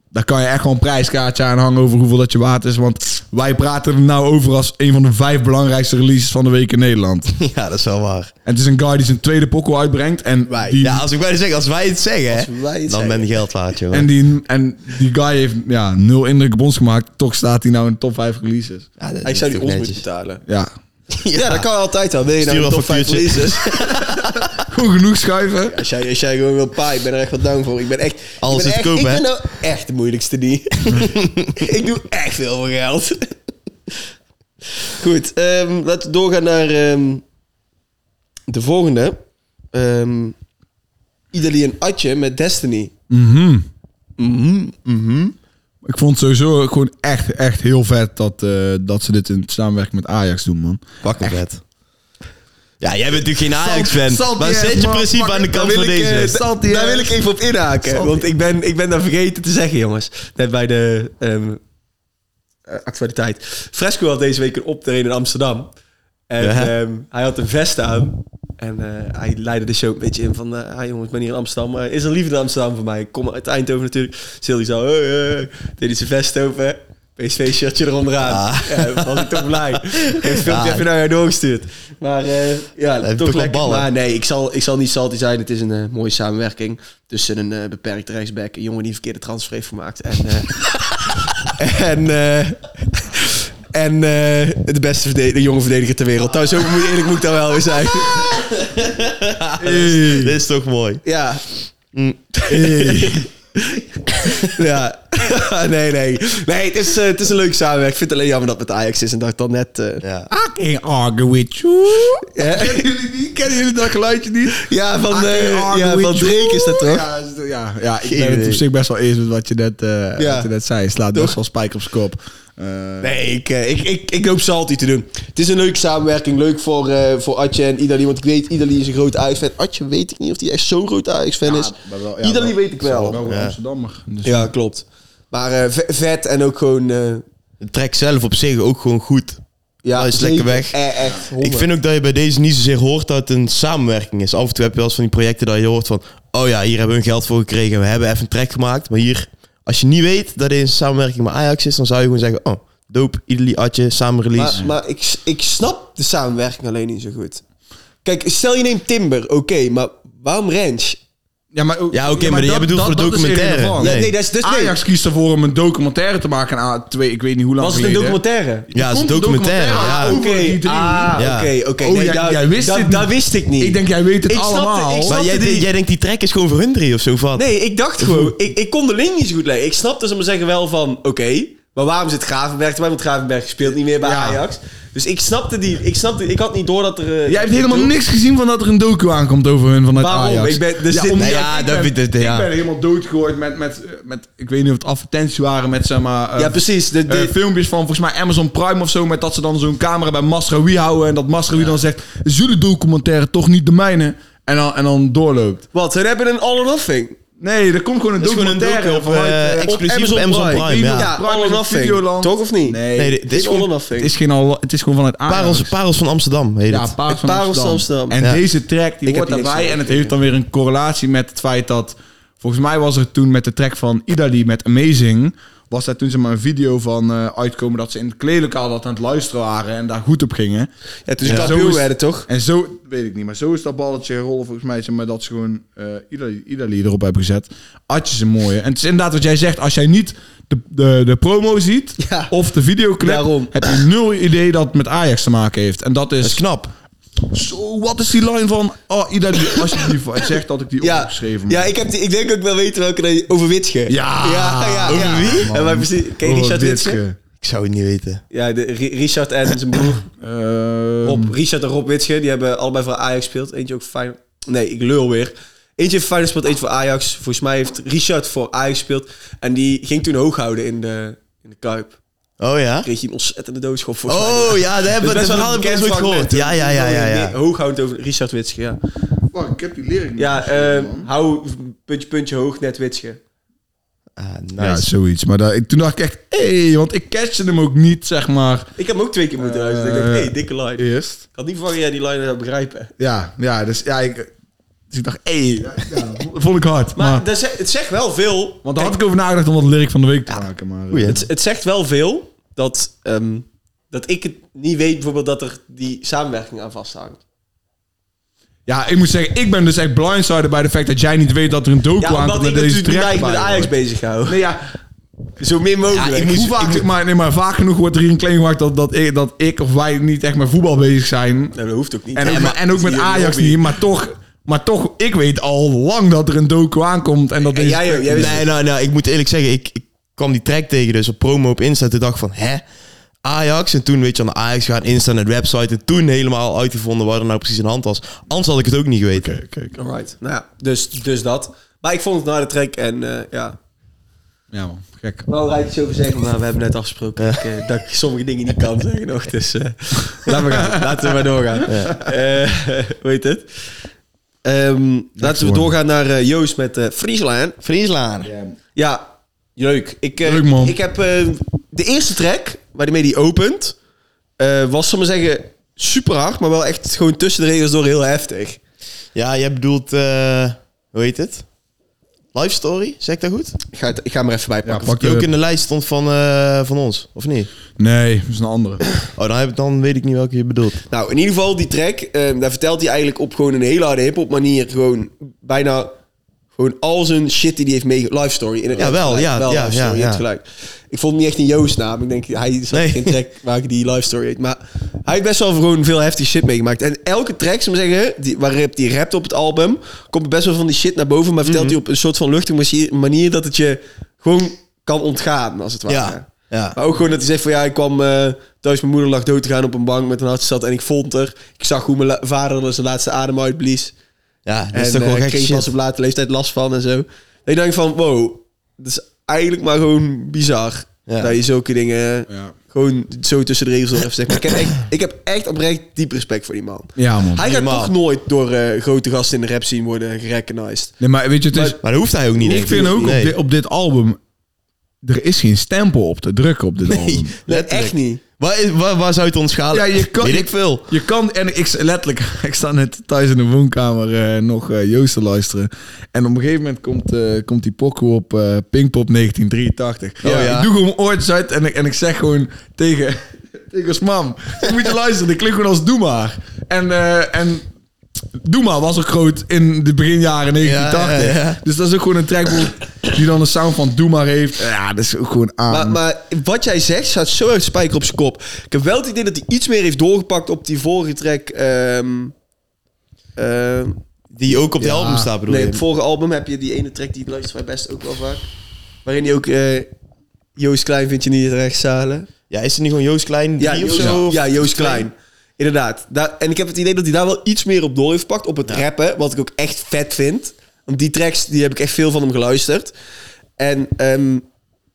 Speaker 1: Daar kan je echt gewoon een prijskaartje aan hangen over hoeveel dat je waard is. Want wij praten er nou over als een van de vijf belangrijkste releases van de week in Nederland. En
Speaker 2: Ja, dat is wel waar.
Speaker 1: het is een guy die zijn tweede pokkel uitbrengt. En
Speaker 3: Wij.
Speaker 1: die,
Speaker 2: Ja, als ik bijna zeg, als wij het zeggen, hè,
Speaker 3: wij het
Speaker 2: dan
Speaker 3: zeggen.
Speaker 2: ben je geld waard, jongen.
Speaker 1: en, die, en die guy heeft ja, nul indruk op ons gemaakt. Toch staat hij nou in de top vijf releases.
Speaker 2: Ja, dat
Speaker 3: Ik
Speaker 2: is
Speaker 3: zou die
Speaker 2: toch
Speaker 3: ons moeten
Speaker 2: netjes.
Speaker 3: betalen.
Speaker 1: Ja,
Speaker 3: Ja, dat kan altijd wel. Wil je nou
Speaker 2: Stuur
Speaker 3: een
Speaker 2: wel
Speaker 3: top 5
Speaker 2: factuurtje.
Speaker 3: releases?
Speaker 1: goed genoeg schuiven.
Speaker 3: Als jij, als jij gewoon wil paai, ik ben er echt wat down voor. Ik ben echt...
Speaker 2: Alles
Speaker 3: ik ben
Speaker 2: is
Speaker 3: echt,
Speaker 2: te koop,
Speaker 3: Ik
Speaker 2: hè?
Speaker 3: ben nou echt de moeilijkste die. ik doe echt veel voor geld. Goed, ehm, laten we doorgaan naar ehm, de volgende. Ehm Idali en Atje met Destiny.
Speaker 1: Ik vond het sowieso gewoon echt, echt heel vet dat, eh, dat ze dit in samenwerking met Ajax doen, man.
Speaker 2: Pak hem vet. Ja, jij bent natuurlijk geen
Speaker 1: Salt-
Speaker 2: Ajax-fan. Maar
Speaker 1: Saltier,
Speaker 2: zet je
Speaker 1: man,
Speaker 2: principe
Speaker 1: pak
Speaker 2: aan de
Speaker 1: ik-
Speaker 2: kant
Speaker 1: daar
Speaker 2: van
Speaker 1: wil ik, eh,
Speaker 2: deze.
Speaker 1: Sal- Salty,
Speaker 3: daar
Speaker 1: hè?
Speaker 3: wil ik even op inhaken.
Speaker 1: Salty.
Speaker 3: Want ik ben, ik ben dat vergeten te zeggen, jongens. Net bij de ehm, eh, actualiteit. Fresco had deze week een optreden in Amsterdam. En
Speaker 2: Ja.
Speaker 3: ehm, hij had een vest aan. En eh, hij leidde de show een beetje in van... eh, ah jongens, ik ben hier in Amsterdam. maar is er liefde in Amsterdam voor mij? Ik kom uit Eindhoven natuurlijk. Zil die zo... Hey, hey. Deed hij zijn vest open. PSV-shirtje eronderaan.
Speaker 2: Ah.
Speaker 3: Ja, was ik toch blij. Heeft het filmpje
Speaker 2: Ah.
Speaker 3: even naar jou doorgestuurd. Maar eh, ja,
Speaker 2: heeft
Speaker 3: toch
Speaker 2: toch wel
Speaker 3: lekker.
Speaker 2: ballen.
Speaker 3: Maar nee, ik zal, ik zal niet salty zijn. Het is een eh, mooie samenwerking tussen een eh beperkt rechtsback, een jongen die een verkeerde transfer heeft gemaakt. En, eh, en, eh, en eh, de beste verde- de jonge verdediger ter wereld. Trouwens, ook moet, eerlijk moet ik daar wel weer zijn.
Speaker 2: Dit is toch mooi. Mm.
Speaker 3: Ja. ja. nee, nee. Nee, het is, eh, het is een leuke samenwerking. Ik vind het alleen jammer dat het met Ajax is en dat ik dan net... eh,
Speaker 2: Ja.
Speaker 1: I can't argue with you.
Speaker 3: Ja.
Speaker 1: Kennen jullie, die? Kennen jullie dat geluidje niet?
Speaker 3: Ja,
Speaker 1: I
Speaker 3: van,
Speaker 1: can't
Speaker 3: eh,
Speaker 1: argue
Speaker 3: ja,
Speaker 1: with
Speaker 3: van
Speaker 1: you.
Speaker 3: Dreek is dat toch?
Speaker 1: Ja, is het- ja, ja ik
Speaker 2: Geen
Speaker 1: ben het op
Speaker 2: idee.
Speaker 1: zich best wel eens met wat je net, eh,
Speaker 3: Ja.
Speaker 1: wat je net zei. Je slaat
Speaker 3: Toch?
Speaker 1: best wel spijker op zijn kop. Eh,
Speaker 3: Nee, ik, eh, ik, ik, ik hoop Salty te doen. Het is een leuke samenwerking. Leuk voor, eh voor Atje en Idali. Want ik weet, Idali is een groot Ajax-fan. Atje weet ik niet of hij echt zo'n groot Ajax-fan is.
Speaker 1: maar wel- ja,
Speaker 3: Idali
Speaker 1: wel-
Speaker 3: weet ik wel.
Speaker 1: wel een
Speaker 2: Ja.
Speaker 1: Amsterdammer. Dus
Speaker 3: Ja, klopt. Maar eh, ve- vet en ook gewoon... eh,
Speaker 2: De track zelf op zich ook gewoon goed.
Speaker 3: ja,
Speaker 2: Hij is lekker
Speaker 3: zeker.
Speaker 2: weg.
Speaker 3: Eh, echt,
Speaker 2: Ik vind ook dat je bij deze niet zozeer hoort dat het een samenwerking is. Af en toe heb je wel eens van die projecten dat je hoort van... Oh ja, hier hebben we hun geld voor gekregen en we hebben even een track gemaakt. Maar hier, als je niet weet dat dit een samenwerking met Ajax is... dan zou je gewoon zeggen... Oh, dope, Idli, Atje, samen release.
Speaker 3: Maar, maar ik, ik snap de samenwerking alleen niet zo goed. Kijk, stel je neemt Timber, oké. maar waarom Ranch?
Speaker 1: Ja, maar, ook-
Speaker 2: Ja, oké, maar die
Speaker 1: dat-
Speaker 2: hebben
Speaker 1: dat-
Speaker 2: bedoeld voor
Speaker 1: dat is
Speaker 2: documentaire.
Speaker 1: irrelevant.
Speaker 3: Ja,
Speaker 2: Nee.
Speaker 3: nee, dat is dus nee.
Speaker 1: Ajax kiest ervoor om een documentaire te maken. aan twee, ik weet niet hoe lang
Speaker 3: Was het een
Speaker 1: geleden.
Speaker 3: documentaire?
Speaker 2: ja, het is
Speaker 1: komt
Speaker 2: een
Speaker 1: een
Speaker 2: documentaire.
Speaker 1: documentaire.
Speaker 2: Ja.
Speaker 1: Oké,
Speaker 3: Oké,
Speaker 1: die drie.
Speaker 3: ah,
Speaker 2: Ja.
Speaker 3: oké, oké.
Speaker 1: Oh,
Speaker 3: nee,
Speaker 1: jij-
Speaker 3: daar-
Speaker 1: jij wist
Speaker 3: dat-
Speaker 1: dit
Speaker 3: Dat
Speaker 1: niet.
Speaker 3: wist ik niet.
Speaker 1: Ik denk, jij weet het
Speaker 3: Ik snapte-
Speaker 1: allemaal.
Speaker 3: ik
Speaker 2: Maar
Speaker 3: snapte
Speaker 2: jij,
Speaker 3: die-
Speaker 2: jij denkt die track is gewoon voor hun drie of zo? Of wat?
Speaker 3: Nee, ik dacht gewoon... Ik, ik kon de link niet zo goed leggen. Ik snapte ze maar zeggen wel van... Oké, maar waarom zit Gravenberg erbij? Want Gravenberg speelt niet meer bij
Speaker 1: Ja.
Speaker 3: Ajax. Dus ik snapte die... Ik, snapte, ik had niet door dat er... eh,
Speaker 1: Jij hebt helemaal niks gezien van dat er een docu aankomt over hun vanuit
Speaker 3: Waarom?
Speaker 1: Ajax.
Speaker 3: Ik ben- dus dit-
Speaker 1: omdat
Speaker 2: Nou ja,
Speaker 1: ik,
Speaker 2: dat
Speaker 1: ben,
Speaker 2: vind ik- ja.
Speaker 1: ik ben helemaal doodgegooid met, met, eh, met... Ik weet niet of het advertenties waren met, zeg maar... eh,
Speaker 3: Ja, precies. De, de-
Speaker 1: eh, filmpjes van volgens mij Amazon Prime of zo... met dat ze dan zo'n camera bij Masraoui houden... en dat Masraoui dan zegt... is jullie documentaire toch niet de mijne? En dan, en dan doorloopt.
Speaker 3: wat? Ze hebben een all or nothing.
Speaker 1: Nee, er komt gewoon een
Speaker 2: Dat is gewoon een
Speaker 1: documentaire
Speaker 2: docu op,
Speaker 1: vanuit,
Speaker 2: eh,
Speaker 1: eh,
Speaker 2: exclusief op Amazon Prime,
Speaker 1: Prime,
Speaker 2: ja.
Speaker 3: Ja,
Speaker 1: Prime
Speaker 3: all
Speaker 1: is
Speaker 3: or
Speaker 1: op
Speaker 3: nothing.
Speaker 1: Videoland.
Speaker 3: Toch of niet?
Speaker 1: Nee,
Speaker 2: Nee, dit-
Speaker 3: Dit
Speaker 2: dit
Speaker 3: is all or
Speaker 1: het
Speaker 3: nothing.
Speaker 1: is geen al, het is gewoon vanuit Ajax.
Speaker 2: Parels, Parels van Amsterdam heet
Speaker 1: Ja,
Speaker 2: het.
Speaker 1: Parels van
Speaker 3: Parels van
Speaker 1: Amsterdam.
Speaker 3: Amsterdam.
Speaker 1: En
Speaker 2: Ja.
Speaker 1: deze track die
Speaker 3: Ik heb
Speaker 1: hoort
Speaker 3: die niks
Speaker 1: daarbij
Speaker 3: van
Speaker 1: en het
Speaker 3: gekregen.
Speaker 1: heeft dan weer een correlatie met het feit dat... Volgens mij was er toen met de track van Idali met Amazing... was daar toen ze maar een video van eh, uitkomen dat ze in het kleedlokaal dat aan het luisteren waren... en daar goed op gingen.
Speaker 3: Ja, toen ze
Speaker 1: Ja. Zo
Speaker 3: kampioen
Speaker 1: is-
Speaker 3: werden, toch?
Speaker 1: En zo, weet ik niet, maar zo is dat balletje rollen volgens mij... zeg maar dat ze gewoon eh Idali, Idali erop hebben gezet. Atjes een mooie. En het is inderdaad wat jij zegt, als jij niet de, de, de promo ziet...
Speaker 3: Ja.
Speaker 1: of de videoclip,
Speaker 3: Daarom.
Speaker 1: heb je nul idee dat het met Ajax te maken heeft. En dat
Speaker 2: Dat is
Speaker 1: is
Speaker 2: knap.
Speaker 1: zo, wat is die line van... Oh, iedereen alsjeblieft. Het zegt dat ik die
Speaker 3: Ja,
Speaker 1: opgeschreven
Speaker 3: ja ik, heb die, ik denk ook wel weten welke dat- over Witsche.
Speaker 1: Ja.
Speaker 3: ja, ja,
Speaker 1: Over
Speaker 3: ja.
Speaker 1: wie?
Speaker 3: Ja, maar precies, ken je Richard Witsche?
Speaker 2: Ik zou het niet weten.
Speaker 3: Ja, de, Ri- Richard en zijn broer. Rob, Richard en Rob Witsche, die hebben allebei voor Ajax gespeeld. Eentje ook voor Feyenoord. Nee, ik lul weer. Eentje heeft Feyenoord gespeeld, eentje voor Ajax. Volgens mij heeft Richard voor Ajax gespeeld. En die ging toen hoog houden in de, in de Kuip.
Speaker 2: Oh ja?
Speaker 3: Kreeg hij een ontzettende doodschop voor
Speaker 2: Oh ja, daar hebben we het
Speaker 3: Dus best wel
Speaker 2: verhaal
Speaker 3: een
Speaker 2: heb ik al
Speaker 3: bekend
Speaker 2: nooit gehoord.
Speaker 3: fragment, hè?
Speaker 2: Ja, ja, ja, ja. ja.
Speaker 3: Hooghoud over Richard Witsche, ja.
Speaker 1: Oh, ik heb die lering
Speaker 3: Ja, eh, hou puntje, puntje hoog, net Witsche.
Speaker 2: Ah, nice.
Speaker 1: ja, zoiets. Maar dat, ik- toen dacht ik echt... Hé, want ik catchte hem ook niet, zeg maar.
Speaker 3: Ik heb hem ook twee keer moeten dus
Speaker 1: Eh,
Speaker 3: luisteren. Ik dacht, hey, dikke line.
Speaker 1: Eerst.
Speaker 3: Ik had niet verwacht dat jij die line zou begrijpen.
Speaker 1: Ja, ja dus ja, ik... Dus ik dacht, hé, hey, ja, vond ik hard. Maar,
Speaker 3: Maar dat ze- het zegt wel veel.
Speaker 1: want daar had ik over nagedacht om dat lyric van de week te maken. Maar, eh,
Speaker 2: Goeie.
Speaker 1: het-
Speaker 3: Het, het zegt wel veel dat, ehm, dat ik het niet weet, bijvoorbeeld, dat er die samenwerking aan vasthangt.
Speaker 1: ja, ik moet zeggen, ik ben dus echt blindsided bij de feit dat jij niet weet dat er een docu
Speaker 3: Ja,
Speaker 1: aankomt
Speaker 3: omdat
Speaker 1: met
Speaker 3: ik
Speaker 1: deze
Speaker 3: natuurlijk
Speaker 1: track.
Speaker 3: mij met
Speaker 1: bij
Speaker 3: Ajax
Speaker 1: hoort.
Speaker 3: bezig hou.
Speaker 1: Nee, ja,
Speaker 3: Zo min mogelijk.
Speaker 1: Ja, ik moet, hoe vaak, zeg maar, nee, maar vaak genoeg wordt er hier een claim gemaakt dat, dat, ik, dat ik of wij niet echt met voetbal bezig zijn.
Speaker 3: Nou, dat hoeft ook niet.
Speaker 1: En,
Speaker 3: Ja,
Speaker 1: ook,
Speaker 3: maar
Speaker 1: en ook
Speaker 3: het is
Speaker 1: met
Speaker 3: niet een
Speaker 1: Ajax
Speaker 3: hobby.
Speaker 1: niet, maar toch, maar toch, ik weet al lang dat er een docu aankomt. En dat
Speaker 3: En
Speaker 1: deze
Speaker 3: jij ook, jij
Speaker 1: track-
Speaker 3: wist-
Speaker 2: Nee, nou, nou, ik moet eerlijk zeggen, ik, ik kwam die track tegen, dus op promo op Insta. Toen dacht ik van, hè? Ajax? En toen weet je aan de Ajax gaan, Insta en de website. En toen helemaal uitgevonden waar er nou precies aan de hand was. Anders had ik het ook niet geweten.
Speaker 1: Oké, oké, oké.
Speaker 3: Alright. Nou ja, dus, dus dat. Maar ik vond het naar de track en eh, ja.
Speaker 1: Ja man, gek.
Speaker 3: Wel raad iets over zeggen, maar we hebben net afgesproken dat ik, eh, dat ik sommige dingen niet kan zeggen nog. Dus eh, laten we gaan. Laten we maar doorgaan. Eh, hoe heet het? Ehm, laten we
Speaker 1: one.
Speaker 3: doorgaan naar eh, Joost met eh Friesland.
Speaker 2: Frieslaan.
Speaker 3: Ja, leuk. Ik, eh,
Speaker 1: Leuk, man.
Speaker 3: Ik heb eh, de eerste track waarmee die opent, eh, was, zal ik maar zeggen, super hard, maar wel echt gewoon tussen de regels door heel heftig.
Speaker 2: Ja, jij bedoelt, eh, hoe heet het? Life Story, zeg ik dat goed?
Speaker 3: Ik ga, het- ik ga hem er even bij
Speaker 1: Ja,
Speaker 3: pakken.
Speaker 1: pak
Speaker 2: Die ook in
Speaker 1: de...
Speaker 2: de lijst stond van, eh, van ons, of niet?
Speaker 1: Nee, dat is een andere.
Speaker 2: Oh, dan, heb, ik- dan weet ik niet welke je bedoelt.
Speaker 3: Nou, in ieder geval, die track, eh, daar vertelt hij eigenlijk op gewoon een hele harde hip-hop manier. Gewoon bijna gewoon al zijn shit die hij heeft meegemaakt. Life story. In
Speaker 2: Ja, wel, ja, ja,
Speaker 3: life story,
Speaker 2: ja,
Speaker 3: je
Speaker 2: ja.
Speaker 3: hebt gelijk. Ik vond hem niet echt een Joost naam. Ik denk, hij zal
Speaker 2: Nee.
Speaker 3: geen track maken die life story heet. Maar hij heeft best wel gewoon veel heftige shit meegemaakt. En elke track, zou ik maar zeggen, die, waarop hij rapt op het album, komt best wel van die shit naar boven. Maar vertelt
Speaker 2: Mhm.
Speaker 3: hij op een soort van luchtige manier- manier dat het je gewoon kan ontgaan, als het ware.
Speaker 2: Ja, eh, ja.
Speaker 3: Maar ook gewoon dat hij zegt van ja, ik kwam eh, thuis, mijn moeder lag dood te gaan op een bank met een hartstilstand en ik vond er. Ik zag hoe mijn la- vader zijn laatste adem uitblies.
Speaker 2: Ja, dat
Speaker 3: En
Speaker 2: is toch
Speaker 3: eh,
Speaker 2: wel gek
Speaker 3: kreeg
Speaker 2: shit.
Speaker 3: pas op late leeftijd last van en zo. En ik denk van wow, dat is eigenlijk maar gewoon bizar.
Speaker 2: Ja.
Speaker 3: Dat je zulke dingen
Speaker 1: Ja.
Speaker 3: gewoon zo tussen de regels door hebt zeg maar. ik, heb echt, ik heb echt oprecht diep respect voor die man.
Speaker 1: Ja man.
Speaker 3: Hij gaat
Speaker 2: Helemaal.
Speaker 3: toch nooit door eh, grote gasten in de rap zien worden gerecognized.
Speaker 1: Nee, maar weet je, het is...
Speaker 2: Maar dat hoeft hij ook niet. denk
Speaker 1: ik vind ook
Speaker 2: Nee.
Speaker 1: op, dit, op dit album, er is geen stempel op te drukken op dit album.
Speaker 3: Nee,
Speaker 2: Letterlijk.
Speaker 3: echt niet.
Speaker 2: Waar, is- waar, waar zou het ons gaan?
Speaker 1: Ja, je kan-
Speaker 2: Weet ik veel.
Speaker 1: Je kan, en ik letterlijk, ik sta net thuis in de woonkamer eh, nog eh, Joost te luisteren. En op een gegeven moment komt, eh, komt die pokoe op eh, Pinkpop 1983.
Speaker 2: Oh, ja.
Speaker 1: Ik doe gewoon oortjes uit en ik, en ik zeg gewoon tegen, tegen Smam, je moet je luisteren, ik klink gewoon als Doe maar. En, eh, en Doe maar was ook groot in de beginjaren 1980.
Speaker 2: Ja, ja, ja.
Speaker 1: Dus dat is ook gewoon een track die dan de sound van Doe maar heeft. Ja, dat is ook gewoon aan.
Speaker 3: Maar, maar wat jij zegt staat zo uit spijker op zijn kop. Ik heb wel het idee dat hij iets meer heeft doorgepakt op die vorige track. ehm, ehm,
Speaker 2: Die ook op de
Speaker 1: Ja.
Speaker 2: album staat, bedoel
Speaker 3: nee, op
Speaker 2: je?
Speaker 3: het vorige album heb je die ene track die luisteren wij best ook wel vaak. Waarin hij ook eh, Joost Klein vind je niet recht zalen.
Speaker 2: Ja, is het niet gewoon Joost Klein
Speaker 3: Ja,
Speaker 2: drie of
Speaker 3: Joost,
Speaker 2: zo?
Speaker 3: ja, Joost Klein. Inderdaad. Daar, en ik heb het idee dat hij daar wel iets meer op door heeft gepakt. Op het rappen, wat ik ook echt vet vind. Want die tracks, die heb ik echt veel van hem geluisterd. En ehm,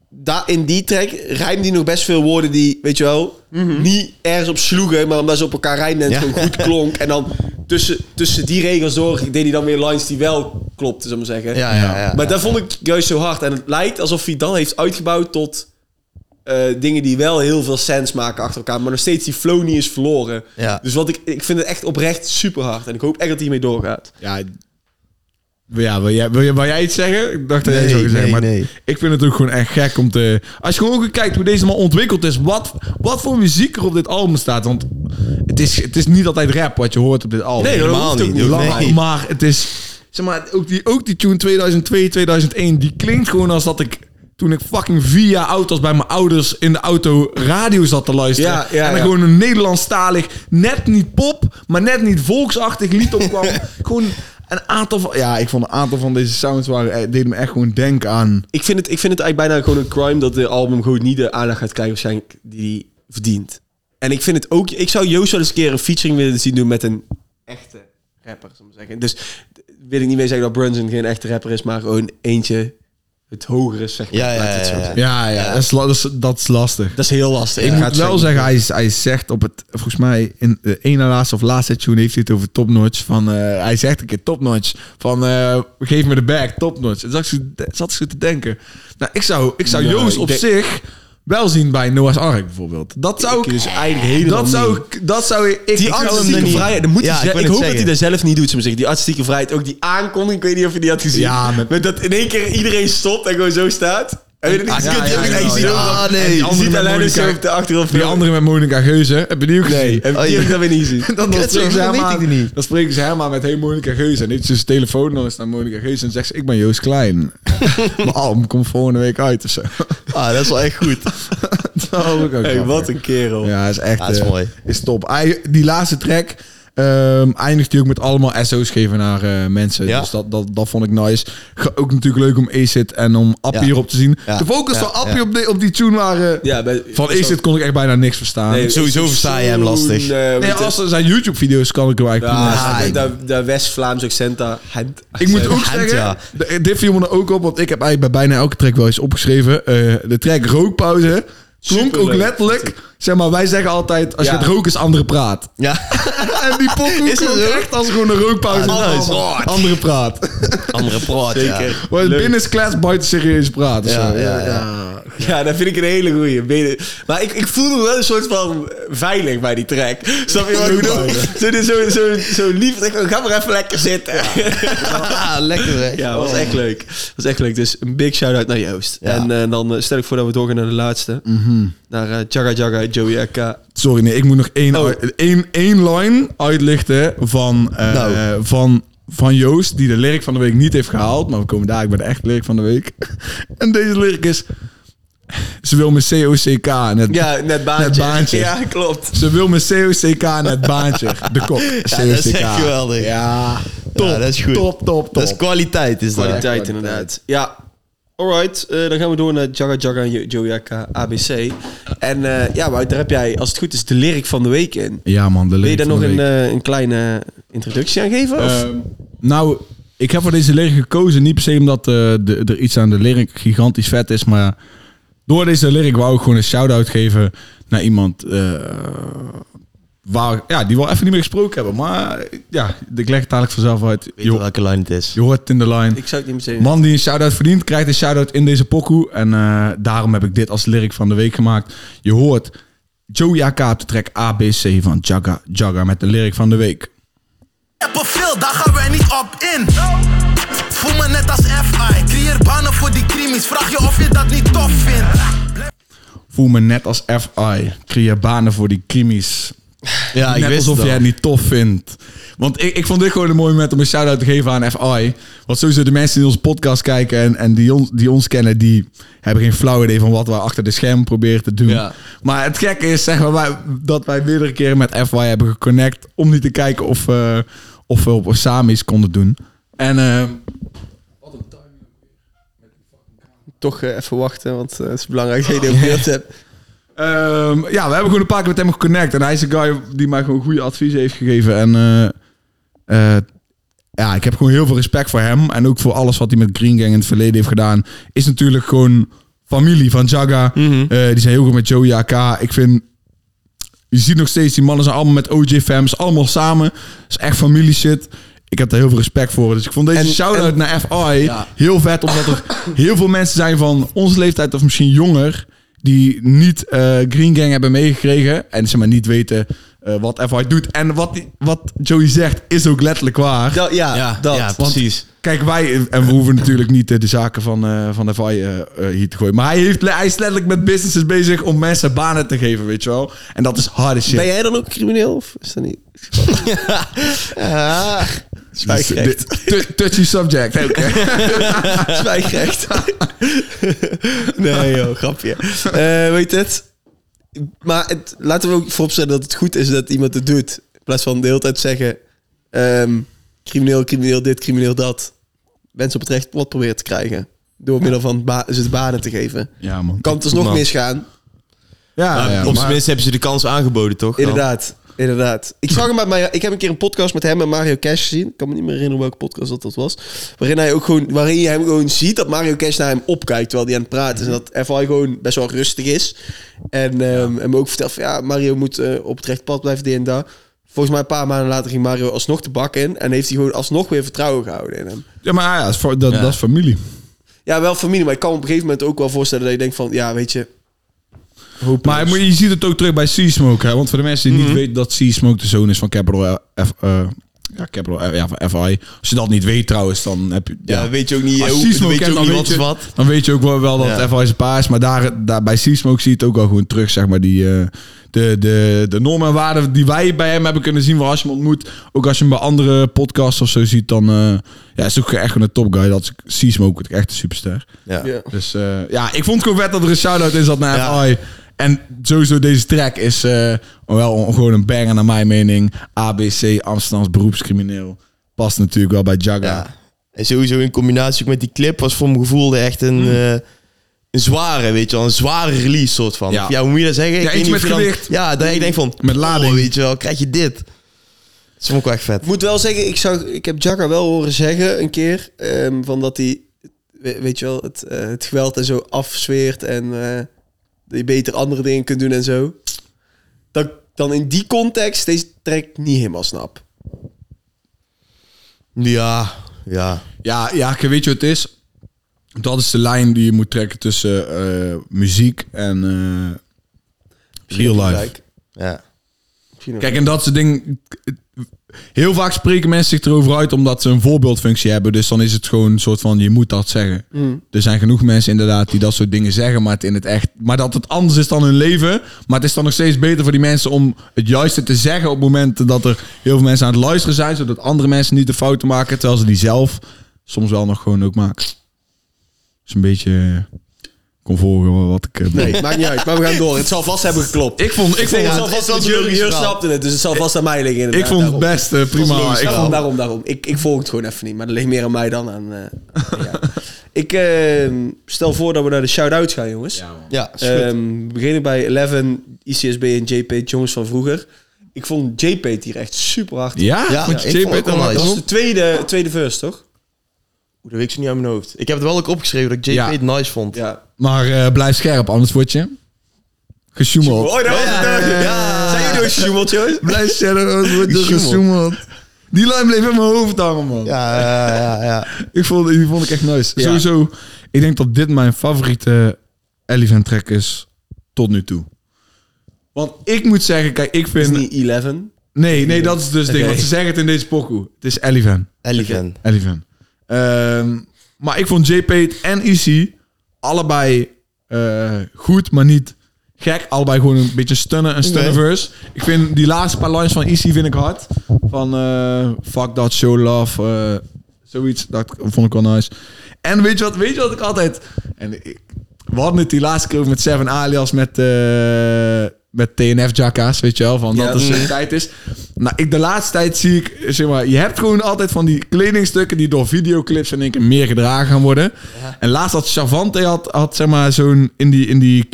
Speaker 3: daar, in die track rijmt hij nog best veel woorden die, weet je wel, niet ergens op sloegen. Maar omdat ze op elkaar rijmden en
Speaker 2: Mhm.
Speaker 3: het
Speaker 2: Ja.
Speaker 3: gewoon goed klonk. En dan tussen, tussen die regels door deed hij dan weer lines die wel klopten, zullen we maar zeggen.
Speaker 2: Ja, ja, ja.
Speaker 3: Maar dat vond ik juist zo hard. En het lijkt alsof hij dan heeft uitgebouwd tot eh, dingen die wel heel veel sens maken achter elkaar. Maar nog steeds die flow niet is verloren.
Speaker 2: Ja.
Speaker 3: Dus wat ik, ik vind het echt oprecht super hard. En ik hoop echt dat hij mee doorgaat.
Speaker 1: Ja, ja wil, jij, wil, jij, wil jij iets zeggen? Ik dacht dat jij
Speaker 2: Nee,
Speaker 1: zo gezegd
Speaker 2: nee,
Speaker 1: maar
Speaker 2: nee.
Speaker 1: ik vind het ook gewoon echt gek om te... Als je gewoon ook kijkt hoe deze man ontwikkeld is, wat, wat voor muziek er op dit album staat. Want het is, het is niet altijd rap wat je hoort op dit album.
Speaker 3: Nee,
Speaker 2: helemaal
Speaker 3: hoeft ook
Speaker 2: niet.
Speaker 3: niet.
Speaker 2: Doe ik
Speaker 1: Maar-
Speaker 2: nee.
Speaker 1: Maar het is... Zeg maar, ook die, ook die tune 2002, 2001, die klinkt gewoon als dat ik... Toen ik fucking vier jaar oud was bij mijn ouders in de auto radio zat te luisteren.
Speaker 3: Ja, ja,
Speaker 1: en dan
Speaker 3: ja.
Speaker 1: gewoon een Nederlandstalig, net niet pop, maar net niet volksachtig lied opkwam. gewoon een aantal van... Ja, ik vond een aantal van deze sounds waren, eh, deden me echt gewoon denken aan...
Speaker 3: Ik vind, het, ik vind het eigenlijk bijna gewoon een crime dat de album gewoon niet de aandacht gaat krijgen waarschijnlijk die hij verdient. En ik vind het ook... Ik zou Joost wel eens een keer een featuring willen zien doen met een echte rapper, zal ik maar zeggen. Dus d- wil ik niet meer zeggen dat Brunson geen echte rapper is, maar gewoon eentje het hogere, zeg maar.
Speaker 2: Ja, ja,
Speaker 3: laat ik
Speaker 2: ja,
Speaker 3: het zo
Speaker 2: ja.
Speaker 3: zeggen.
Speaker 1: Ja, ja, Dat, is, la- dat, is, dat is lastig.
Speaker 3: Dat is heel lastig.
Speaker 1: Ik
Speaker 3: ga
Speaker 1: moet
Speaker 3: het
Speaker 1: wel zeggen, hij, hij zegt op het, volgens mij, in de ene laatste of laatste tune heeft hij het over topnotch. Van, eh, hij zegt een keer topnotch. Van, eh, geef me de bag, topnotch. En zat ik zo- zat ik zo te denken. Nou, ik zou, ik zou
Speaker 3: Ja,
Speaker 1: Joost
Speaker 3: ik
Speaker 1: op
Speaker 3: denk-
Speaker 1: zich wel zien bij Noah's Ark bijvoorbeeld. Dat zou ik...
Speaker 3: dus eigenlijk helemaal
Speaker 1: Dat zou,
Speaker 3: niet.
Speaker 1: ik- dat zou ik... ik
Speaker 3: Die
Speaker 1: ik zou
Speaker 2: artistieke
Speaker 1: hem
Speaker 3: artistieke
Speaker 1: er niet-
Speaker 3: vrijheid, dat moet
Speaker 2: Ja,
Speaker 3: hij
Speaker 2: ik
Speaker 3: zeggen.
Speaker 2: wil
Speaker 3: ik,
Speaker 2: het
Speaker 3: hoop dat hij
Speaker 2: zeggen.
Speaker 3: daar zelf niet doet, zou ik zeggen. Die artistieke vrijheid, ook die aankondiging, ik weet niet of je die had gezien.
Speaker 1: Ja, met-
Speaker 3: dat in één keer iedereen stopt en gewoon zo staat. En weet je niet,
Speaker 1: ja,
Speaker 3: kut, die
Speaker 1: ja,
Speaker 3: heb ik
Speaker 1: ja,
Speaker 3: echt
Speaker 1: ja,
Speaker 3: gezien.
Speaker 1: ja.
Speaker 3: hoor.
Speaker 2: Ah, nee.
Speaker 3: En
Speaker 1: Die
Speaker 3: Je
Speaker 1: andere
Speaker 3: ziet
Speaker 1: met
Speaker 3: alleen
Speaker 1: Monica-
Speaker 3: zo op de achtergrond.
Speaker 1: Die andere met Monica Geuze. Heb je die ook gezien?
Speaker 3: Nee, en
Speaker 2: Oh,
Speaker 3: die
Speaker 2: ja.
Speaker 3: heb ik dan weer niet gezien.
Speaker 1: Dan, dan,
Speaker 2: Kut,
Speaker 1: spreken
Speaker 2: zo,
Speaker 1: ze
Speaker 2: dat
Speaker 1: hem
Speaker 2: weet
Speaker 1: aan,
Speaker 2: ik niet.
Speaker 1: dan spreken ze hem aan met hey Monica Geuze. En dit is zijn telefoon, dan is het naar Monica Geuze. En zegt ze, ik ben Joost Klein. Mijn album komt volgende week uit of zo.
Speaker 2: Ah, dat is wel echt goed.
Speaker 1: dat hoop ik ook
Speaker 3: Hey,
Speaker 1: grappig.
Speaker 3: wat een kerel.
Speaker 1: Ja, is echt
Speaker 2: Ja, is
Speaker 1: eh,
Speaker 2: mooi.
Speaker 1: Is top. Ei- Die laatste track ehm, eindigt natuurlijk met allemaal SO's geven naar eh, mensen.
Speaker 2: Ja.
Speaker 1: Dus dat, dat, dat vond ik nice. Ge- Ook natuurlijk leuk om Acid en om Appie
Speaker 2: Ja.
Speaker 1: hierop te zien.
Speaker 2: Ja.
Speaker 1: De focus
Speaker 2: Ja.
Speaker 1: van Appie
Speaker 2: Ja.
Speaker 1: op, die, op die tune waren...
Speaker 3: Ja, bij-
Speaker 1: Van Acid kon ik echt bijna niks verstaan.
Speaker 3: Nee,
Speaker 1: Nee,
Speaker 2: Sowieso versta je hem lastig.
Speaker 3: zo'n, eh, weet je-
Speaker 1: als er zijn YouTube-video's kan ik hem eigenlijk niet
Speaker 3: Ja,
Speaker 1: verstaan.
Speaker 3: dat- dat- dat West-Vlaams accent. daar. Hand-
Speaker 1: Ik moet ook
Speaker 2: Hand,
Speaker 1: zeggen,
Speaker 2: ja.
Speaker 1: d- dit viel me dan ook op, want ik heb eigenlijk bij bijna elke track wel eens opgeschreven. eh, de track Rookpauze klonk ook
Speaker 3: Superleuk.
Speaker 1: letterlijk, zeg maar, wij zeggen altijd, als
Speaker 3: Ja.
Speaker 1: je het rookt is andere praat.
Speaker 2: Ja,
Speaker 1: En die pokoe
Speaker 2: Is dat
Speaker 1: klonk
Speaker 2: zo?
Speaker 1: echt als gewoon een rookpauze.
Speaker 2: Ah, nice.
Speaker 1: Andere- Andere praat.
Speaker 2: andere praat, ja.
Speaker 3: Zeker.
Speaker 1: Maar binnen is class, buiten serieus praat. of
Speaker 2: Ja,
Speaker 1: zo.
Speaker 2: ja, ja.
Speaker 3: Ah, Ja, dat vind ik een hele goeie. Ben je- Maar ik, ik voelde wel een soort van veilig bij die track. Snap je wat ik bedoel? Zo, zo, zo, zo lief. Ik dacht, Ga maar even lekker zitten.
Speaker 2: Ah, lekker zeg.
Speaker 3: Ja, was echt leuk. was echt leuk. Dus een big shout-out naar Joost.
Speaker 2: Ja.
Speaker 3: En eh, dan eh, stel ik voor dat we doorgaan naar de laatste. Naar eh, Jaga Jaga Joey Eka.
Speaker 1: Sorry, nee, ik moet nog één,
Speaker 3: Oh.
Speaker 1: uit- één, één line uitlichten van, eh,
Speaker 2: Nou.
Speaker 1: van, van Joost, die de lyric van de week niet heeft gehaald. Maar we komen daar bij de echte lyric van de week. en deze lyric is... Ze wil mijn COCK en het,
Speaker 3: Ja, net baantje.
Speaker 1: Net baantje.
Speaker 3: Ja, klopt.
Speaker 1: Ze wil mijn COCK en het baantje. De kop. COCK.
Speaker 2: dat is echt geweldig.
Speaker 1: Ja, top.
Speaker 2: Ja, dat is goed.
Speaker 1: Top, top, top.
Speaker 2: Dat is kwaliteit, is dat.
Speaker 3: Kwaliteit inderdaad.
Speaker 1: eh.
Speaker 3: Ja. Alright, eh, dan gaan we door naar Jaga Jaga en Jo- Joey Eka, ABC. En eh, ja, Wout, daar heb jij, als het goed is, de lyric van de week in.
Speaker 1: ja man, de lyric
Speaker 3: Wil je daar
Speaker 1: van
Speaker 3: nog
Speaker 1: de
Speaker 3: een,
Speaker 1: week.
Speaker 3: eh, een kleine introductie aan geven? of?
Speaker 1: Ehm, nou, ik heb voor deze lyric gekozen. Niet per se omdat eh, de, er iets aan de lyric gigantisch vet is. Maar door deze lyric wou ik gewoon een shout-out geven naar iemand... eh, waar, ja, die we al even niet meer gesproken hebben. Maar eh, ja, ik leg het dadelijk vanzelf uit.
Speaker 2: Weet je
Speaker 1: Je,
Speaker 2: welke line het is?
Speaker 1: je hoort het in de line.
Speaker 3: ik zou het niet meteen...
Speaker 1: Man die een shout-out verdient, krijgt een shout-out in deze pokoe. En eh, daarom heb ik dit als lyric van de week gemaakt. Je hoort Joey AK op de track ABC van Jaga Jaga met de lyric van de week.
Speaker 5: Rappen veel, daar gaan wij niet op in. Voel me net als FI. Creëer banen voor die krimis. Vraag je of je dat niet tof vindt.
Speaker 1: Voel me net als FI. Creëer banen voor die krimis.
Speaker 2: Ja, ik
Speaker 1: net
Speaker 2: wist
Speaker 1: alsof
Speaker 2: het
Speaker 1: jij
Speaker 2: al.
Speaker 1: het niet tof vindt. Want ik, ik vond dit gewoon een mooi moment om een shout-out te geven aan FI. Want sowieso de mensen die onze podcast kijken en, en die, ons, die ons kennen... die hebben geen flauw idee van wat we achter de schermen proberen te doen.
Speaker 2: Ja.
Speaker 1: Maar het gekke is zeg maar, wij, dat wij meerdere keren met FI hebben geconnect... om niet te kijken of, eh, of we op samen iets konden doen. En... eh,
Speaker 3: Toch eh, even wachten, want eh, het is belangrijk dat je dit op beeld hebt.
Speaker 1: Ehm, ja, we hebben gewoon een paar keer met hem geconnect. En hij is een guy die mij gewoon goede adviezen heeft gegeven. En eh, eh, ja, ik heb gewoon heel veel respect voor hem. En ook voor alles wat hij met Green Gang in het verleden heeft gedaan. Is natuurlijk gewoon familie van Jaga. Eh, die zijn heel goed met Joey AK. Ik vind... Je ziet nog steeds, die mannen zijn allemaal met OJ Fams. Allemaal samen. Het is echt familie shit. Ik heb daar heel veel respect voor. Dus ik vond deze
Speaker 3: En-
Speaker 1: shout-out
Speaker 3: en-
Speaker 1: naar FI heel vet. Omdat er heel veel mensen zijn van onze leeftijd of misschien jonger... die niet eh, Green Gang hebben meegekregen. En ze maar niet weten eh, wat FI doet. En wat, die- wat Joey zegt is ook letterlijk waar.
Speaker 3: Dat, ja,
Speaker 2: Ja,
Speaker 3: dat.
Speaker 2: ja,
Speaker 3: Want-
Speaker 2: precies.
Speaker 1: Kijk, wij, en we hoeven natuurlijk niet eh, de zaken van, eh van de VAI eh, eh, hier te gooien. Maar hij, heeft, hij is letterlijk met businesses bezig om mensen banen te geven, weet je wel. En dat is harde shit.
Speaker 3: Ben jij dan ook crimineel, of is dat niet?
Speaker 1: Dus, eh, dit- tu- touchy subject.
Speaker 3: Zwijgrecht. nee joh, Oh, grapje. Eh, weet het? Maar het, laten we ook vooropstellen dat het goed is dat iemand het doet. In plaats van de hele tijd zeggen... ehm, crimineel, crimineel dit, crimineel dat. Mensen op het recht plat proberen te krijgen. Door middel van ba- ze de banen te geven.
Speaker 1: Ja, man.
Speaker 3: Kan het dus nog
Speaker 2: man.
Speaker 3: misgaan.
Speaker 1: Ja,
Speaker 2: Ja,
Speaker 1: ja,
Speaker 2: op
Speaker 1: maar-
Speaker 2: zijn minst hebben ze de kans aangeboden, toch? Dan?
Speaker 3: Inderdaad, inderdaad. Ik zag hem met Mario- ik heb een keer een podcast met hem en Mario Cash gezien. Ik kan me niet meer herinneren welke podcast dat, dat was. Waarin hij ook gewoon, waarin je hem gewoon ziet dat Mario Cash naar hem opkijkt terwijl hij aan het praten is. En dat FI gewoon best wel rustig is. En ehm, hem ook vertelt van ja, Mario moet eh, op het rechte pad blijven, dit en daar. Volgens mij een paar maanden later ging Mario alsnog de bak in. En heeft hij gewoon alsnog weer vertrouwen gehouden in hem.
Speaker 1: ja, maar ah, ja, dat, is voor- dat,
Speaker 2: Ja.
Speaker 1: dat is familie.
Speaker 3: Ja, wel familie, maar ik kan me op een gegeven moment ook wel voorstellen dat je denkt van ja, weet je.
Speaker 1: Maar je moet- je ziet het ook terug bij Seasmoke. Hè? Want voor de mensen die niet weten dat Seasmoke de zoon is van Capital F... eh, ja, Capital F, ja, van FI. Als je dat niet weet trouwens, dan heb je...
Speaker 2: Ja, weet je ook
Speaker 3: Ah,
Speaker 2: niet eh,
Speaker 1: Als
Speaker 2: hoe-
Speaker 1: Seasmoke
Speaker 2: weet je
Speaker 1: kent,
Speaker 2: ook
Speaker 1: dan
Speaker 2: niet
Speaker 1: weet
Speaker 2: wat
Speaker 1: je-
Speaker 2: is wat.
Speaker 1: Dan weet je ook wel, wel dat
Speaker 2: Ja.
Speaker 1: FI zijn paars. Maar daar, daar, bij Seasmoke zie je het ook al gewoon terug, zeg maar. Die, eh, de, de, de normen en waarden die wij bij hem hebben kunnen zien... waar als je hem ontmoet, ook als je hem bij andere podcasts of zo ziet... dan eh, ja, is het ook echt gewoon een top guy. Dat is Seasmoke, echt een superster.
Speaker 2: Ja.
Speaker 3: Ja.
Speaker 1: Dus eh, ja, ik vond het gewoon vet dat er een shout-out in zat naar
Speaker 2: Ja.
Speaker 1: FI. En sowieso deze track is eh, wel een- gewoon een banger naar mijn mening. ABC, Amsterdams beroepscrimineel. Past natuurlijk wel bij Jagga.
Speaker 2: Ja. En sowieso in combinatie ook met die clip was voor mijn gevoel echt een,
Speaker 3: Hmm.
Speaker 2: eh, een zware, weet je wel. Een zware release soort van.
Speaker 1: Ja.
Speaker 2: Ja, hoe moet je dat zeggen? Ik
Speaker 1: Ja,
Speaker 2: weet
Speaker 1: iets met
Speaker 2: niet of je dan-
Speaker 1: gewicht.
Speaker 2: Ja, dat
Speaker 3: Hmm.
Speaker 2: ik denk van...
Speaker 1: Met lading.
Speaker 2: oh, weet je wel, krijg je dit. Dat vond ik wel echt vet.
Speaker 3: Ik moet wel zeggen, ik, zag, ik heb Jacka wel horen zeggen een keer... ehm, van dat hij, we- weet je wel, het, eh, het geweld en zo afzweert... en eh, dat je beter andere dingen kunt doen en zo. Dat ik dan in die context deze track niet helemaal snap.
Speaker 2: Ja, ja.
Speaker 1: Ja, ja, ik weet je wat het is? Dat is de lijn die je moet trekken tussen eh, muziek en eh, real life.
Speaker 3: Gelijk.
Speaker 2: ja.
Speaker 3: Misschien ook.
Speaker 1: Kijk, en dat is het ding. Heel vaak spreken mensen zich erover uit omdat ze een voorbeeldfunctie hebben. Dus dan is het gewoon een soort van, je moet dat zeggen. Er zijn genoeg mensen inderdaad die dat soort dingen zeggen, maar het in het echt... Maar dat het anders is dan hun leven. Maar het is dan nog steeds beter voor die mensen om het juiste te zeggen op momenten dat er heel veel mensen aan het luisteren zijn. Zodat andere mensen niet de fouten maken, terwijl ze die zelf soms wel nog gewoon ook maken. Dus een beetje eh, conform wat ik... eh,
Speaker 3: Nee, maakt niet uit, maar we gaan door. Het zal vast hebben geklopt.
Speaker 1: Ik vond, ik vond,
Speaker 3: Nee, het
Speaker 2: Ja,
Speaker 3: zal
Speaker 2: het
Speaker 3: vast
Speaker 2: is wel
Speaker 3: dat
Speaker 2: een
Speaker 3: Jurgen
Speaker 2: logisch
Speaker 3: Jur
Speaker 2: verhaal.
Speaker 3: snapte het, dus het zal vast aan mij liggen
Speaker 1: ik
Speaker 3: inderdaad.
Speaker 1: vond het
Speaker 3: daarom.
Speaker 1: best eh, prima. Ik
Speaker 3: daarom,
Speaker 1: vond,
Speaker 3: daarom, daarom. Ik, ik volg het gewoon even niet, maar dat ligt meer aan mij dan aan... eh, ja. Ik eh, stel voor dat we naar de shout-outs gaan, jongens.
Speaker 2: Ja, is goed.
Speaker 3: Ehm, we beginnen bij Eleven, ICSB en JP, jongens van vroeger. Ik vond JP hier echt super hard.
Speaker 1: ja,
Speaker 2: Ja,
Speaker 1: vond je
Speaker 2: ik vond
Speaker 1: JP
Speaker 2: ook
Speaker 1: dan
Speaker 2: wel
Speaker 1: wel-
Speaker 2: nice.
Speaker 3: Dat was de tweede, tweede verse, toch?
Speaker 2: Oeh, dat weet ik zo niet uit mijn hoofd. Ik heb het wel ook opgeschreven dat ik JP
Speaker 1: Ja.
Speaker 2: het nice vond.
Speaker 3: Ja.
Speaker 1: Maar eh, blijf scherp, anders word je gesjoemeld.
Speaker 3: Oh, dat was het.
Speaker 2: eh. Ja.
Speaker 3: Ja. Zijn jullie ook gesjoemeld, jongens?
Speaker 1: Blijf scherp, anders word je
Speaker 2: Gesjoemeld.
Speaker 1: gesjoemeld. Die lijn bleef in mijn hoofd hangen, man.
Speaker 2: Ja, ja, ja, ja.
Speaker 1: Ik vond, die vond ik echt nice.
Speaker 3: Ja.
Speaker 1: Sowieso, ik denk dat dit mijn favoriete Elephant track is tot nu toe. Want ik moet zeggen, kijk, ik
Speaker 3: Is
Speaker 1: vind...
Speaker 3: niet Eleven.
Speaker 1: Nee, nee, dat is dus het ding.
Speaker 3: Oké.
Speaker 1: Want ze zeggen het in deze pokoe. Het is Elephant.
Speaker 2: Eleven.
Speaker 1: Eleven. Ehm, maar ik vond JP en EC allebei eh, goed, maar niet gek. Allebei gewoon een beetje stunnen, een stunnen
Speaker 2: Nee.
Speaker 1: verse. Ik vind die laatste paar lines van EC vind ik hard. Van eh, fuck that show love, eh, zoiets. Dat vond ik wel nice. En weet je wat, weet je wat ik altijd... En ik, we hadden het die laatste keer ook met Seven Alias, met, eh, met TNF-jakka's, weet je wel. Van dat
Speaker 3: Ja.
Speaker 1: is de tijd is. Nou, ik de laatste tijd zie ik, zeg maar, je hebt gewoon altijd van die kledingstukken die door videoclips in één keer meer gedragen gaan worden. En laatst had Savante had, had zeg maar zo'n in die in die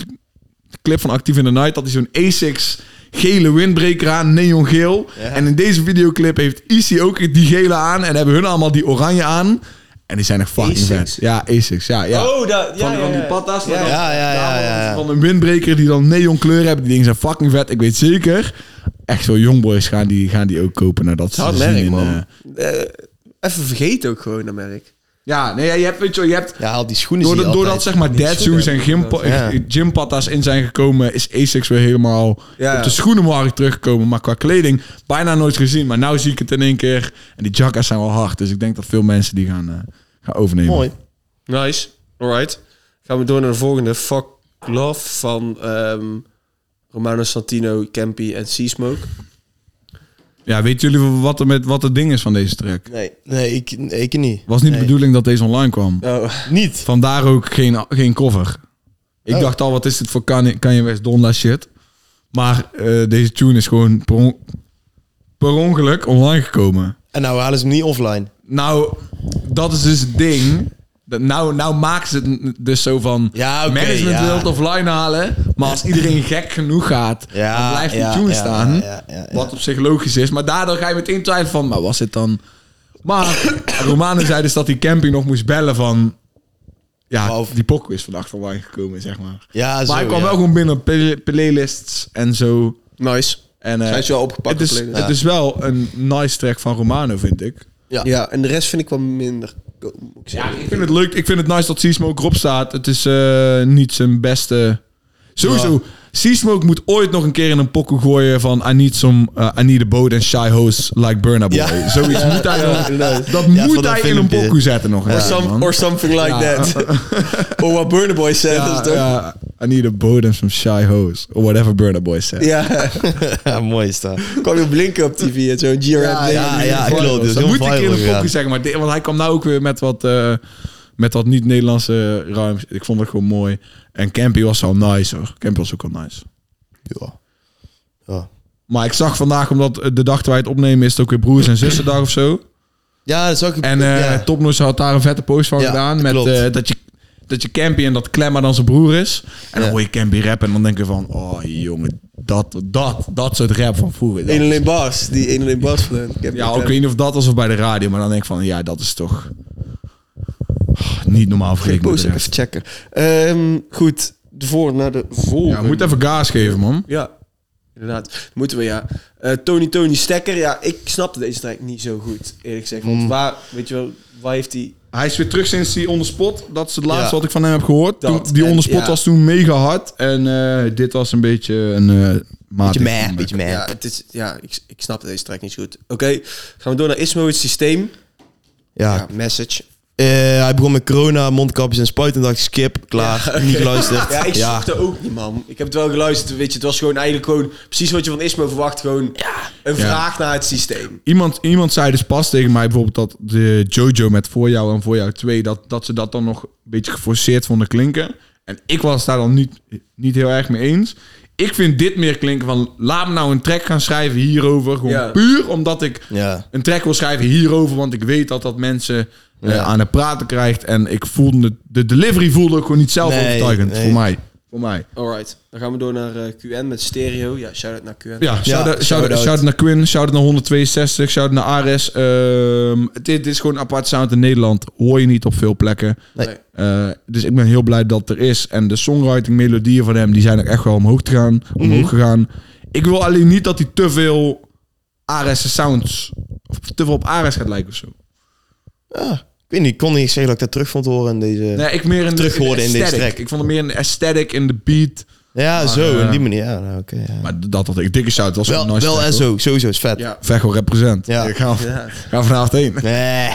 Speaker 1: clip van Active in the Night had hij zo'n Asics gele windbreker aan, neongeel. En in deze videoclip heeft Easy ook die gele aan en hebben hun allemaal die oranje aan. En die zijn echt fucking
Speaker 3: Asics?
Speaker 1: vet. Ja, Asics, ja, ja.
Speaker 3: Oh, dat, ja,
Speaker 1: Van,
Speaker 3: ja,
Speaker 1: van die
Speaker 3: ja.
Speaker 1: patas. maar dan-
Speaker 2: Ja, ja, ja, ja, ja.
Speaker 1: Van een windbreker die dan neonkleur hebben. Die dingen zijn fucking vet. Ik weet zeker. Echt zo jongboys gaan die, gaan die ook kopen nadat ze
Speaker 2: Hard
Speaker 1: ze
Speaker 2: merk,
Speaker 1: zien in,
Speaker 2: man.
Speaker 1: eh,
Speaker 3: Eh, even vergeten ook gewoon, dat merk.
Speaker 1: ja, nee, ja, je hebt, weet je, wel, je hebt
Speaker 2: Ja, al die schoenen
Speaker 1: doordat,
Speaker 2: zie je
Speaker 1: doordat
Speaker 2: altijd.
Speaker 1: zeg maar dad shoes en gym, eh,
Speaker 2: Ja.
Speaker 1: gympata's in zijn gekomen, is Asics weer helemaal
Speaker 3: Ja.
Speaker 1: op de schoenenmarkt teruggekomen. Maar qua kleding bijna nooit gezien. Maar nu zie ik het in één keer. En die jackas zijn wel hard. Dus ik denk dat veel mensen die gaan, eh, gaan overnemen.
Speaker 2: Mooi.
Speaker 3: Nice. Alright. Gaan we door naar de volgende. Fuck Love van ehm, Romano Santino, Campy en Seasmoke.
Speaker 1: Ja, weten jullie wat, er met, wat het ding is van deze track?
Speaker 2: Nee, nee ik, ik niet.
Speaker 1: Was niet
Speaker 2: Nee.
Speaker 1: de bedoeling dat deze online kwam.
Speaker 3: Oh.
Speaker 2: Niet.
Speaker 1: Vandaar ook geen, geen cover. Ik
Speaker 2: Oh.
Speaker 1: dacht al, wat is dit voor Kanye, Kanye West Donda shit? Maar eh, deze tune is gewoon per, on- per ongeluk online gekomen.
Speaker 2: En nou halen ze hem niet offline.
Speaker 1: Nou, dat is dus het ding. Dat nou, nou maken ze het n- dus zo van...
Speaker 2: Ja, oké,
Speaker 1: management
Speaker 2: ja.
Speaker 1: wil het offline halen. Maar als iedereen gek genoeg gaat,
Speaker 2: Ja,
Speaker 1: dan blijft die
Speaker 2: ja,
Speaker 1: tune
Speaker 2: ja,
Speaker 1: staan.
Speaker 2: ja, ja, ja, ja.
Speaker 1: Wat op zich logisch is. Maar daardoor ga je meteen twijfelen van... Maar was het dan... Maar Romane zei dus dat die camping nog moest bellen van... Ja,
Speaker 2: Maar of-
Speaker 1: die pokoe is vannacht online gekomen, zeg maar.
Speaker 2: Ja, zo,
Speaker 1: maar hij kwam
Speaker 2: ja.
Speaker 1: wel gewoon binnen op play- playlists en zo.
Speaker 3: Nice.
Speaker 1: En, eh,
Speaker 3: Zijn ze wel opgepakt
Speaker 1: Het is,
Speaker 3: op playlists?
Speaker 1: het is wel een nice track van Romano, vind ik.
Speaker 3: Ja, en de rest vind ik wel minder. Ja,
Speaker 1: Ik vind het leuk. Ik vind het nice dat Seasmoke erop staat. Het is eh, niet zijn beste. Sowieso. Seasmoke moet ooit nog een keer in een pokoe gooien van... I need, some, eh, I need a boat and shy hoes like Burna Boy.
Speaker 2: Ja.
Speaker 1: Zoiets moet hij dan- Dat
Speaker 2: Ja, van
Speaker 1: moet
Speaker 2: dat
Speaker 1: hij in een
Speaker 2: filmpje.
Speaker 1: pokoe zetten nog.
Speaker 3: Or,
Speaker 1: Ja,
Speaker 3: some-
Speaker 1: man.
Speaker 3: or something like that. or what Burner Boy said.
Speaker 1: Ja,
Speaker 3: dat is toch- Ja.
Speaker 1: ja, I need a boat and some shy hoes. Or whatever Burna Boy said.
Speaker 2: Ja, mooi is dat.
Speaker 3: kwam je blinken op tv en zo'n
Speaker 1: Ja,
Speaker 3: G-Rap.
Speaker 2: ja, ja,
Speaker 1: Viral.
Speaker 2: klopt. Dus
Speaker 1: dat
Speaker 2: heel
Speaker 1: moet ik in
Speaker 2: viral
Speaker 1: een
Speaker 2: gegaan.
Speaker 1: pokoe zeggen. Maar dit- want hij kwam nou ook weer met wat, eh, met wat niet-Nederlandse ruims. Ik vond het gewoon mooi. En Campy was al nice hoor. Campy was ook al nice.
Speaker 2: Ja. Ja.
Speaker 1: Maar ik zag vandaag, omdat eh, de dag dat wij het opnemen... is het ook weer broers- en zussendag of zo.
Speaker 2: Ja, dat is ook...
Speaker 1: En eh
Speaker 2: ja.
Speaker 1: Topnotch had daar een vette post van
Speaker 2: Ja,
Speaker 1: gedaan. Met,
Speaker 2: klopt.
Speaker 1: eh, dat, je, dat je Campy en dat Klemmer dan zijn broer is. En dan
Speaker 2: Ja.
Speaker 1: hoor je Campy rappen en dan denk je van... Oh jongen, dat, dat, dat soort rap van vroeger. dat-
Speaker 3: 1 alleen Bars. Die 1 alleen Bars van hen. Ik heb
Speaker 1: Ja,
Speaker 3: die
Speaker 1: ook ik weet niet of dat was of bij de radio, maar dan denk ik van, ja, dat is toch Ah, niet normaal
Speaker 3: Ik
Speaker 1: vergeleken met
Speaker 3: post
Speaker 1: de
Speaker 3: ik
Speaker 1: rest.
Speaker 3: even checken. Ehm, goed, de voor naar de volgende.
Speaker 1: Ja, moet even gaas geven, man.
Speaker 3: Ja, inderdaad. Moeten we, ja. Eh, Tony Tony Stekker. Ja, ik snapte deze track niet zo goed, eerlijk gezegd. Want waar, weet je wel, waar heeft hij...
Speaker 1: Hij is weer terug sinds die onderspot. Dat is het laatste
Speaker 2: Ja.
Speaker 1: wat ik van hem heb gehoord.
Speaker 3: Dat,
Speaker 1: Toen- die
Speaker 3: en-
Speaker 1: onderspot
Speaker 3: ja.
Speaker 1: was toen mega hard. En eh, dit was een beetje een eh maat.
Speaker 2: Beetje meh, beetje meh.
Speaker 3: Ja, het is, ja ik, ik snapte deze track niet zo goed. Oké, gaan we door naar Ismo, het systeem.
Speaker 2: Ja.
Speaker 3: Ja, message.
Speaker 2: Eh, hij begon met corona, mondkapjes en spuiten. En dacht ik, skip, klaar, niet geluisterd.
Speaker 3: Ja, ik
Speaker 2: ja.
Speaker 3: snapte ook niet, man. Ik heb het wel geluisterd, weet je. Het was gewoon eigenlijk gewoon precies wat je van Ismo verwacht. Gewoon een vraag naar het systeem.
Speaker 1: Iemand, iemand zei dus pas tegen mij bijvoorbeeld dat de JoJo met Voor jou en Voor jou 2... Dat, dat ze dat dan nog een beetje geforceerd vonden klinken. En ik was daar dan niet, niet heel erg mee eens. Ik vind dit meer klinken van... Laat me nou een track gaan schrijven hierover. Gewoon
Speaker 3: Ja.
Speaker 1: puur omdat ik
Speaker 2: Ja.
Speaker 1: een track wil schrijven hierover. Want ik weet dat dat mensen eh, aan het praten krijgt. En ik voelde... het- De delivery voelde ik gewoon niet zelf
Speaker 2: Nee,
Speaker 1: overtuigend.
Speaker 2: nee.
Speaker 1: Voor mij. Voor mij.
Speaker 3: Alright, dan gaan we door naar eh, QN met Stereo. Ja, shout-out naar QN.
Speaker 1: Ja, shout-out
Speaker 2: shout-out.
Speaker 1: shout naar Quinn, shout-out naar 162, shout-out naar Ares. Ehm, dit, dit is gewoon een apart sound in Nederland. Hoor je niet op veel plekken.
Speaker 2: Nee.
Speaker 3: Nee.
Speaker 1: Eh, dus ik ben heel blij dat het er is. En de songwriting melodieën van hem, die zijn ook echt wel omhoog, te gaan,
Speaker 2: Mhm.
Speaker 1: omhoog gegaan. Ik wil alleen niet dat hij te veel Ares sounds, of te veel op Ares gaat lijken of zo.
Speaker 2: Ja, Ik weet niet, ik kon niet zeggen dat ik dat terug vond horen in deze...
Speaker 1: Nee, ik meer een
Speaker 2: Terughoorde in deze track.
Speaker 1: Ik vond hem meer een aesthetic in de beat.
Speaker 2: ja, zo,
Speaker 1: eh,
Speaker 2: in die manier. Ja, nou, oké. ja.
Speaker 1: Maar dat had ik. Dikke shout was
Speaker 2: Wel,
Speaker 1: een nice
Speaker 2: wel
Speaker 1: track, hoor.
Speaker 2: SO, sowieso, is vet.
Speaker 3: Ja.
Speaker 1: Vecho represent.
Speaker 2: Ja.
Speaker 1: Ik ga, ga vanavond heen.
Speaker 2: Nee.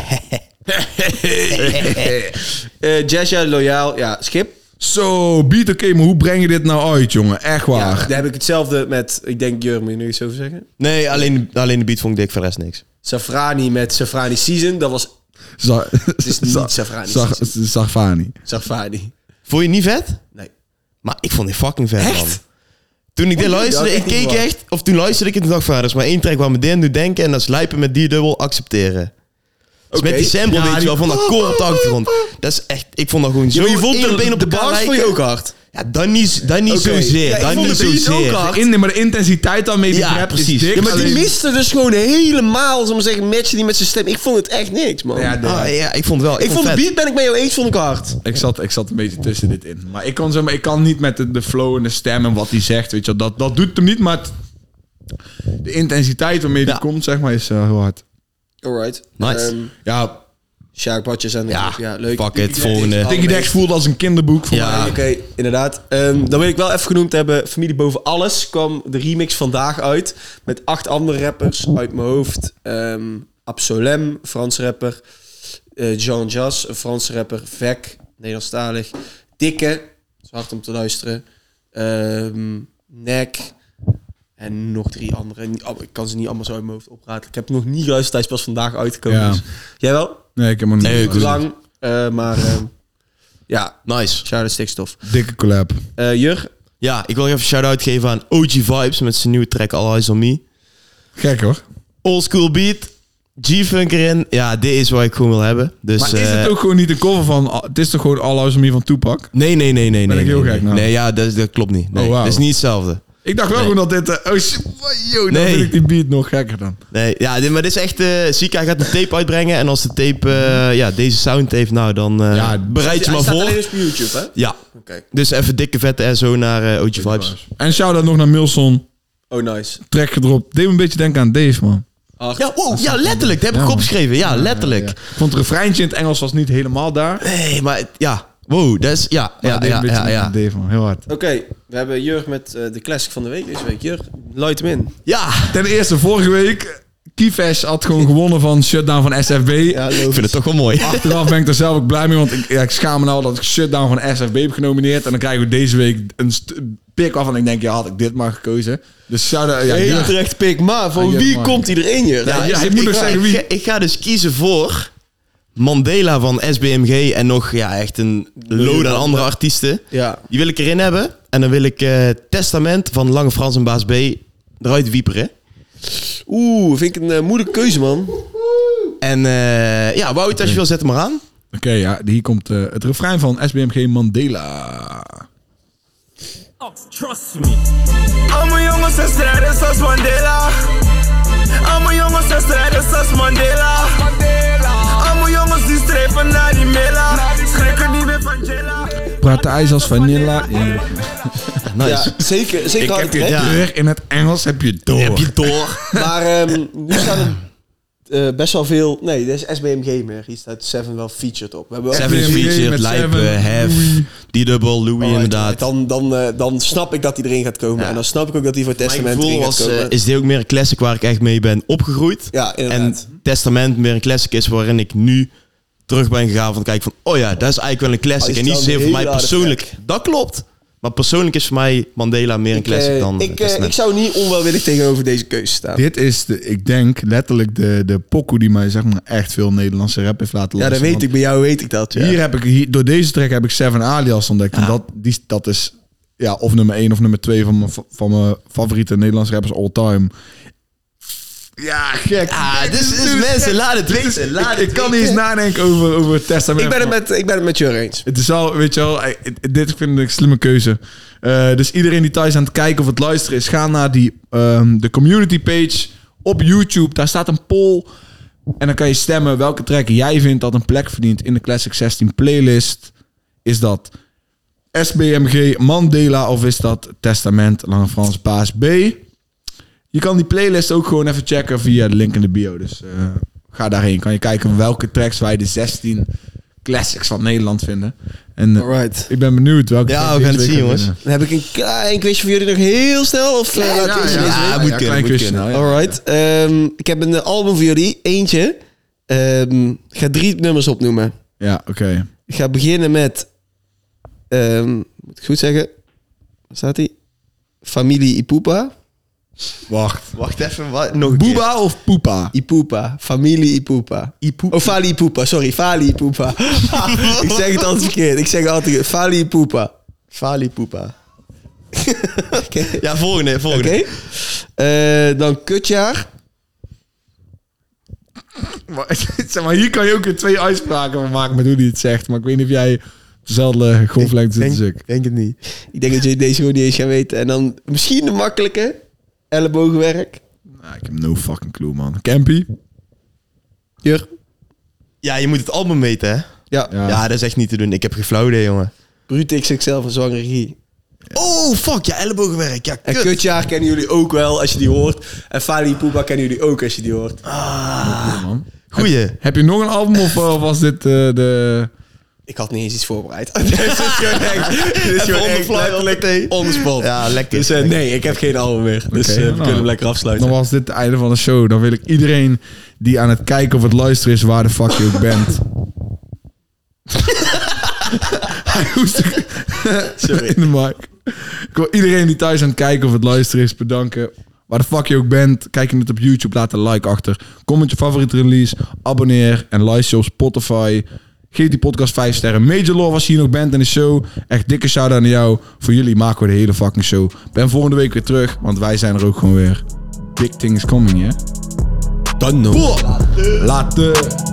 Speaker 3: Eh Jazja, loyaal. Ja, Schip.
Speaker 1: Zo, beat oké, maar hoe breng je dit nou uit, jongen? Echt
Speaker 3: Ja,
Speaker 1: waar.
Speaker 3: daar heb ik hetzelfde met, ik denk, Jur, moet je nog iets over zeggen?
Speaker 2: nee, alleen, alleen de beat vond ik dik, voor de rest niks.
Speaker 3: Safrani met Safrani Season, dat was
Speaker 1: Za-
Speaker 3: Het is niet
Speaker 1: Za-
Speaker 3: Safrani,
Speaker 1: Za-
Speaker 3: het is
Speaker 1: Safrani.
Speaker 3: Safrani.
Speaker 2: Vond je het niet vet?
Speaker 3: Nee.
Speaker 2: Maar ik vond dit fucking vet,
Speaker 3: Echt?
Speaker 2: man. Toen ik dit
Speaker 3: ja,
Speaker 2: luisterde,
Speaker 3: dat
Speaker 2: ik
Speaker 3: is niet
Speaker 2: keek
Speaker 3: waar.
Speaker 2: echt... Of toen luisterde ik het en dacht van... Er is maar één track waar me dit aan doet denken... en dat is lijpen met die dubbel accepteren. Dus
Speaker 3: Oké.
Speaker 2: met die sample
Speaker 1: Ja,
Speaker 2: weet je
Speaker 1: die-
Speaker 2: wel, van dat koor op de achtergrond. Dat is echt... Ik vond dat gewoon zo...
Speaker 3: maar je vond
Speaker 2: één
Speaker 3: de-
Speaker 2: op één op
Speaker 3: de
Speaker 2: elkaar
Speaker 3: bars vond
Speaker 2: lijken.
Speaker 3: je ook hard?
Speaker 2: Ja, dan niet, dan niet
Speaker 3: Oké.
Speaker 2: zozeer.
Speaker 3: Ja, ik
Speaker 2: dan
Speaker 3: vond
Speaker 2: niet
Speaker 3: de beat ook
Speaker 2: zozeer.
Speaker 3: hard.
Speaker 1: In, nee, maar de intensiteit daarmee die
Speaker 2: Ja,
Speaker 1: rap is
Speaker 2: precies.
Speaker 1: dik.
Speaker 2: Ja,
Speaker 3: Maar die
Speaker 1: alleen-
Speaker 3: miste dus gewoon helemaal, zal ik maar zeggen, matchen die met zijn stem. Ik vond het echt niks, man.
Speaker 1: Ja, nee.
Speaker 2: Ah, ja, ik vond het wel. Ik,
Speaker 3: ik vond de
Speaker 2: het
Speaker 3: beat, ben ik mee eens, vond ik hard.
Speaker 1: ik, zat, ik zat een beetje tussen dit in. Maar ik kan, zeg maar, ik kan niet met de, de flow en de stem en wat hij zegt. Weet je, wel. dat, dat doet hem niet, maar het- de intensiteit waarmee die
Speaker 2: Ja.
Speaker 1: komt, zeg maar, is eh, heel hard.
Speaker 3: Alright.
Speaker 2: Nice.
Speaker 3: Ehm,
Speaker 1: Ja,
Speaker 3: Sjaak Badjes en...
Speaker 2: Ja,
Speaker 3: ja leuk.
Speaker 2: fuck it,
Speaker 3: Dicky
Speaker 2: volgende.
Speaker 3: Dex,
Speaker 1: Dickie Dex
Speaker 3: allereerst.
Speaker 1: voelde als een kinderboek voor
Speaker 2: Ja.
Speaker 1: mij.
Speaker 3: Oké, inderdaad. Ehm, dan wil ik wel even genoemd hebben, Familie Boven Alles kwam de remix vandaag uit. Met acht andere rappers uit mijn hoofd. Ehm Absolem, Frans rapper. eh, Jean Jas, een Franse rapper. Vek, Nederlandstalig. Dikke, dat is hard om te luisteren. Ehm Nek. En nog drie andere. Niet- oh, Ik kan ze niet allemaal zo uit mijn hoofd opraken. Ik heb nog niet geluisterd, hij is pas vandaag uitgekomen.
Speaker 1: Ja.
Speaker 3: Dus. Jij wel?
Speaker 1: Nee, ik heb hem niet.
Speaker 2: Nee, ik doe-
Speaker 3: Lang, eh, maar ehm, ja,
Speaker 2: Nice.
Speaker 3: shout-out stikstof.
Speaker 1: Dikke collab.
Speaker 3: Eh Jur,
Speaker 2: Ja, ik wil even shout-out geven aan OG Vibes... met zijn nieuwe track All Eyes On Me.
Speaker 1: Gek hoor.
Speaker 2: Old school beat... G-Funk erin. Ja, dit is wat ik gewoon wil hebben. Dus,
Speaker 1: Maar is
Speaker 2: eh,
Speaker 1: het ook gewoon niet een cover van... Het is toch gewoon All Eyes on Me van Tupac?
Speaker 2: Nee, nee, nee, nee.
Speaker 1: Ben
Speaker 2: nee,
Speaker 1: ik heel
Speaker 2: nee,
Speaker 1: gek,
Speaker 2: nee.
Speaker 1: nou.
Speaker 2: Nee, ja, dat, is- dat klopt niet. Nee,
Speaker 1: Oh, wauw.
Speaker 2: Dat is niet hetzelfde.
Speaker 1: Ik dacht wel
Speaker 2: Nee.
Speaker 1: gewoon dat dit... eh, oh, shit, yo, dan
Speaker 2: Nee.
Speaker 1: vind ik die beat nog gekker dan.
Speaker 2: Nee, ja, dit, maar dit is echt... eh ziek, hij gaat een tape uitbrengen. En als de tape eh, ja, deze sound heeft, nou dan eh,
Speaker 1: Ja,
Speaker 2: bereid je
Speaker 3: Hij
Speaker 2: maar
Speaker 3: staat
Speaker 2: voor.
Speaker 3: alleen dus op YouTube, hè?
Speaker 2: Ja,
Speaker 3: Oké.
Speaker 2: dus even dikke vette SO naar eh, OG Vibes.
Speaker 1: En shout-out nog naar Milson.
Speaker 3: Oh, nice.
Speaker 1: Track gedropt. Deed me een beetje denken aan Dave, man.
Speaker 3: Hard.
Speaker 2: Ja, wow, ja, letterlijk. Dat heb ik
Speaker 1: Ja, man.
Speaker 2: opgeschreven. Ja,
Speaker 1: Ja,
Speaker 2: letterlijk.
Speaker 1: ja. Ik vond het refreintje in het Engels was niet helemaal daar.
Speaker 2: Nee, maar het- ja. Wow, dat is... Ja, ja,
Speaker 1: dat deed
Speaker 2: ja,
Speaker 1: een beetje
Speaker 2: ja, ja.
Speaker 1: met Dave, man. Heel hard.
Speaker 3: Oké, we hebben Jurg met eh, de classic van de week deze week. Jurg, luid hem in.
Speaker 2: Ja,
Speaker 1: Ten eerste, vorige week... Kiefash had gewoon gewonnen van Shutdown van SFB.
Speaker 2: ik vind het toch wel mooi.
Speaker 1: Achteraf ben ik er zelf ook blij mee, want ik, ja, ik schaam me nou dat ik Shutdown van SFB heb genomineerd. En dan krijgen we deze week een st- pick af en ik denk, ja, had ik dit maar gekozen. Dus zouden... Ja,
Speaker 3: Heel
Speaker 1: ja.
Speaker 3: terecht pik, maar van
Speaker 1: Ja, Jurg,
Speaker 3: wie
Speaker 1: man.
Speaker 3: komt iedereen, Jurg?
Speaker 1: Ja,
Speaker 2: dus
Speaker 1: hij
Speaker 2: ik-
Speaker 1: moet
Speaker 2: ik
Speaker 1: nog
Speaker 2: ga-
Speaker 1: zeggen wie.
Speaker 2: Ik, ga- ik ga dus kiezen voor Mandela van SBMG en nog ja, echt een load aan andere artiesten.
Speaker 3: Ja.
Speaker 2: Die wil ik erin hebben. En dan wil ik eh, Testament van Lange Frans en Baas B eruit wieperen.
Speaker 3: Oeh, vind ik een eh, moeilijke keuze, man.
Speaker 2: En eh, ja, Wout, als je wil, zet hem maar aan.
Speaker 1: Oké, ja, hier komt eh, het refrein van SBMG Mandela.
Speaker 6: Trust me.
Speaker 5: Allemaal jongens en strijders als Mandela. Allemaal jongens en strijders als Mandela. Allemaal jongens die streven naar die mela. Schrikken niet meer van Jella.
Speaker 1: Praat de ijs als vanilla. Ja.
Speaker 2: Nice.
Speaker 3: Ja, zeker. zeker
Speaker 1: Ik
Speaker 3: hard
Speaker 1: heb je
Speaker 2: ja.
Speaker 1: deur in het Engels, heb je door.
Speaker 2: Heb je door?
Speaker 3: Maar ehm, nu staan er eh, best wel veel... Nee, dit is SBMG meer. Hier staat Seven wel featured op. We hebben ook-
Speaker 2: Seven is
Speaker 1: SBMG
Speaker 2: featured,
Speaker 1: met
Speaker 2: Lijp,
Speaker 1: Seven,
Speaker 2: eh, Hef,
Speaker 1: Louis.
Speaker 2: D-Double, Louis
Speaker 3: Alright,
Speaker 2: inderdaad.
Speaker 3: Dan, dan, eh, dan snap ik dat die erin gaat komen.
Speaker 2: Ja.
Speaker 3: En dan snap ik ook dat die voor
Speaker 2: Mijn
Speaker 3: Testament
Speaker 2: gevoel
Speaker 3: erin gaat
Speaker 2: was,
Speaker 3: komen.
Speaker 2: eh, is dit ook meer een classic waar ik echt mee ben opgegroeid.
Speaker 3: Ja, inderdaad.
Speaker 2: En Testament meer een classic is waarin ik nu terug ben gegaan van kijken van... Oh ja, dat is eigenlijk wel een
Speaker 3: Oh,
Speaker 2: classic.
Speaker 3: is
Speaker 2: en
Speaker 3: wel
Speaker 2: niet
Speaker 3: een
Speaker 2: zozeer voor
Speaker 3: hele
Speaker 2: mij
Speaker 3: harde
Speaker 2: persoonlijk. Dat klopt. Maar persoonlijk is voor mij Mandela meer een classic
Speaker 3: Eh,
Speaker 2: dan eh,
Speaker 3: ik, eh,
Speaker 2: Testament.
Speaker 3: ik zou niet onwelwillig tegenover deze keuze staan.
Speaker 1: Dit is, de, ik denk, letterlijk de, de pokoe die mij zeg maar, echt veel Nederlandse rap heeft laten
Speaker 3: ja, dat
Speaker 1: luisteren.
Speaker 3: weet ik. Bij jou weet ik dat. Ja.
Speaker 1: Hier heb ik, hier, door deze track heb ik Seven Alias ontdekt. En dat, die, dat is ja, of nummer 1 of nummer 2 van mijn, fa- van mijn favoriete Nederlandse rappers all time. Ja, gek.
Speaker 2: Ah, dit is- dit is- mensen, laat het weten, laat
Speaker 1: ik,
Speaker 2: het
Speaker 1: ik kan niet
Speaker 2: weten.
Speaker 1: eens nadenken over, over het testament.
Speaker 3: ik, ben het met, ik ben het met Jur eens.
Speaker 1: Het is al, weet je wel, eh, dit vind ik een slimme keuze. Eh, dus iedereen die thuis aan het kijken of het luisteren is, ga naar die, ehm, de community page op YouTube. Daar staat een poll. En dan kan je stemmen welke track jij vindt dat een plek verdient in de Classic 16 playlist. Is dat SBMG Mandela of is dat Testament Lange Frans Paas B? Je kan die playlist ook gewoon even checken via de link in de bio. Dus eh, ga daarheen. Kan je kijken welke tracks wij de 16 classics van Nederland vinden. En eh,
Speaker 3: Alright.
Speaker 1: ik ben benieuwd welke.
Speaker 2: Ja,
Speaker 1: track deze
Speaker 2: we gaan het
Speaker 1: week
Speaker 2: zien,
Speaker 1: gaat
Speaker 2: jongens.
Speaker 1: winnen.
Speaker 3: Dan heb ik een klein quizje voor jullie nog heel snel. Of, eh, laat ik eerst deze
Speaker 1: ja,
Speaker 3: weten?
Speaker 1: moet kunnen, moet kunnen.
Speaker 3: All Alright. Ehm, ik heb een eh, album voor jullie. Eentje. Ehm, ik ga drie nummers opnoemen.
Speaker 1: Ja, oké.
Speaker 3: Ik ga beginnen met... ehm, moet ik goed zeggen? Waar staat hij? Familie Ipupa.
Speaker 1: Wacht.
Speaker 2: Wacht even, wat? Nog
Speaker 1: Booba of Poepa?
Speaker 3: Ipupa. Familie Ipupa.
Speaker 2: Ipupa.
Speaker 3: Oh, Fali Ipupa. Sorry, Fali Ipupa. ik zeg het altijd verkeerd. Ik zeg altijd Fali Ipupa. Fali Ipupa. Oké.
Speaker 2: Ja, volgende, volgende.
Speaker 3: Oké. Eh, dan Kutjaar.
Speaker 1: zeg maar, hier kan je ook weer twee uitspraken van maken met hoe die het zegt. Maar ik weet niet of jij op dezelfde golflengte zit als ik.
Speaker 2: denk het niet.
Speaker 3: Ik denk dat jullie deze gewoon niet eens gaan weten. En dan misschien de makkelijke. Ellebogenwerk.
Speaker 1: Nou, ik heb no fucking clue, man. Campy?
Speaker 3: Jur.
Speaker 2: Ja, je moet het album weten, hè?
Speaker 3: Ja.
Speaker 1: Ja.
Speaker 2: Ja, dat is echt niet te doen. Ik heb geflauwd, jongen.
Speaker 3: Brute XXL van Zwangere Gie.
Speaker 2: Oh, fuck, ja, ellebogenwerk. Ja,
Speaker 3: En
Speaker 2: kut.
Speaker 3: Kutjaar kennen jullie ook wel als je die hoort. En Fali Ipupa kennen jullie ook als je die hoort.
Speaker 1: man.
Speaker 2: Goeie.
Speaker 1: Heb je nog een album of eh, was dit eh, de...
Speaker 3: Ik had niet eens iets voorbereid. Dit is gewoon echt- dit is
Speaker 2: Even
Speaker 3: gewoon
Speaker 2: on the
Speaker 3: echt
Speaker 2: fly,
Speaker 3: letterlijk
Speaker 2: meteen.
Speaker 3: on the spot.
Speaker 2: Ja, lekker.
Speaker 3: Dus eh, nee, ik heb geen album meer. Dus eh,
Speaker 1: Oké,
Speaker 3: we
Speaker 1: nou.
Speaker 3: kunnen hem lekker afsluiten.
Speaker 1: Dan was dit het einde van de show. Dan wil ik iedereen die aan het kijken of het luisteren is, waar de fuck je ook bent. Hij hoest ook in de mic. Ik wil iedereen die thuis aan het kijken of het luisteren is bedanken. Waar de fuck je ook bent, kijk je het op YouTube, laat een like achter. Comment je favoriete release, abonneer en luister op Spotify. Geef die podcast 5 sterren. Major Love als je hier nog bent in de show. Echt dikke shout-out aan jou. Voor jullie maken we de hele fucking show. Ben volgende week weer terug, want wij zijn er ook gewoon weer. Big thing is coming, hè? Dan nog. Later.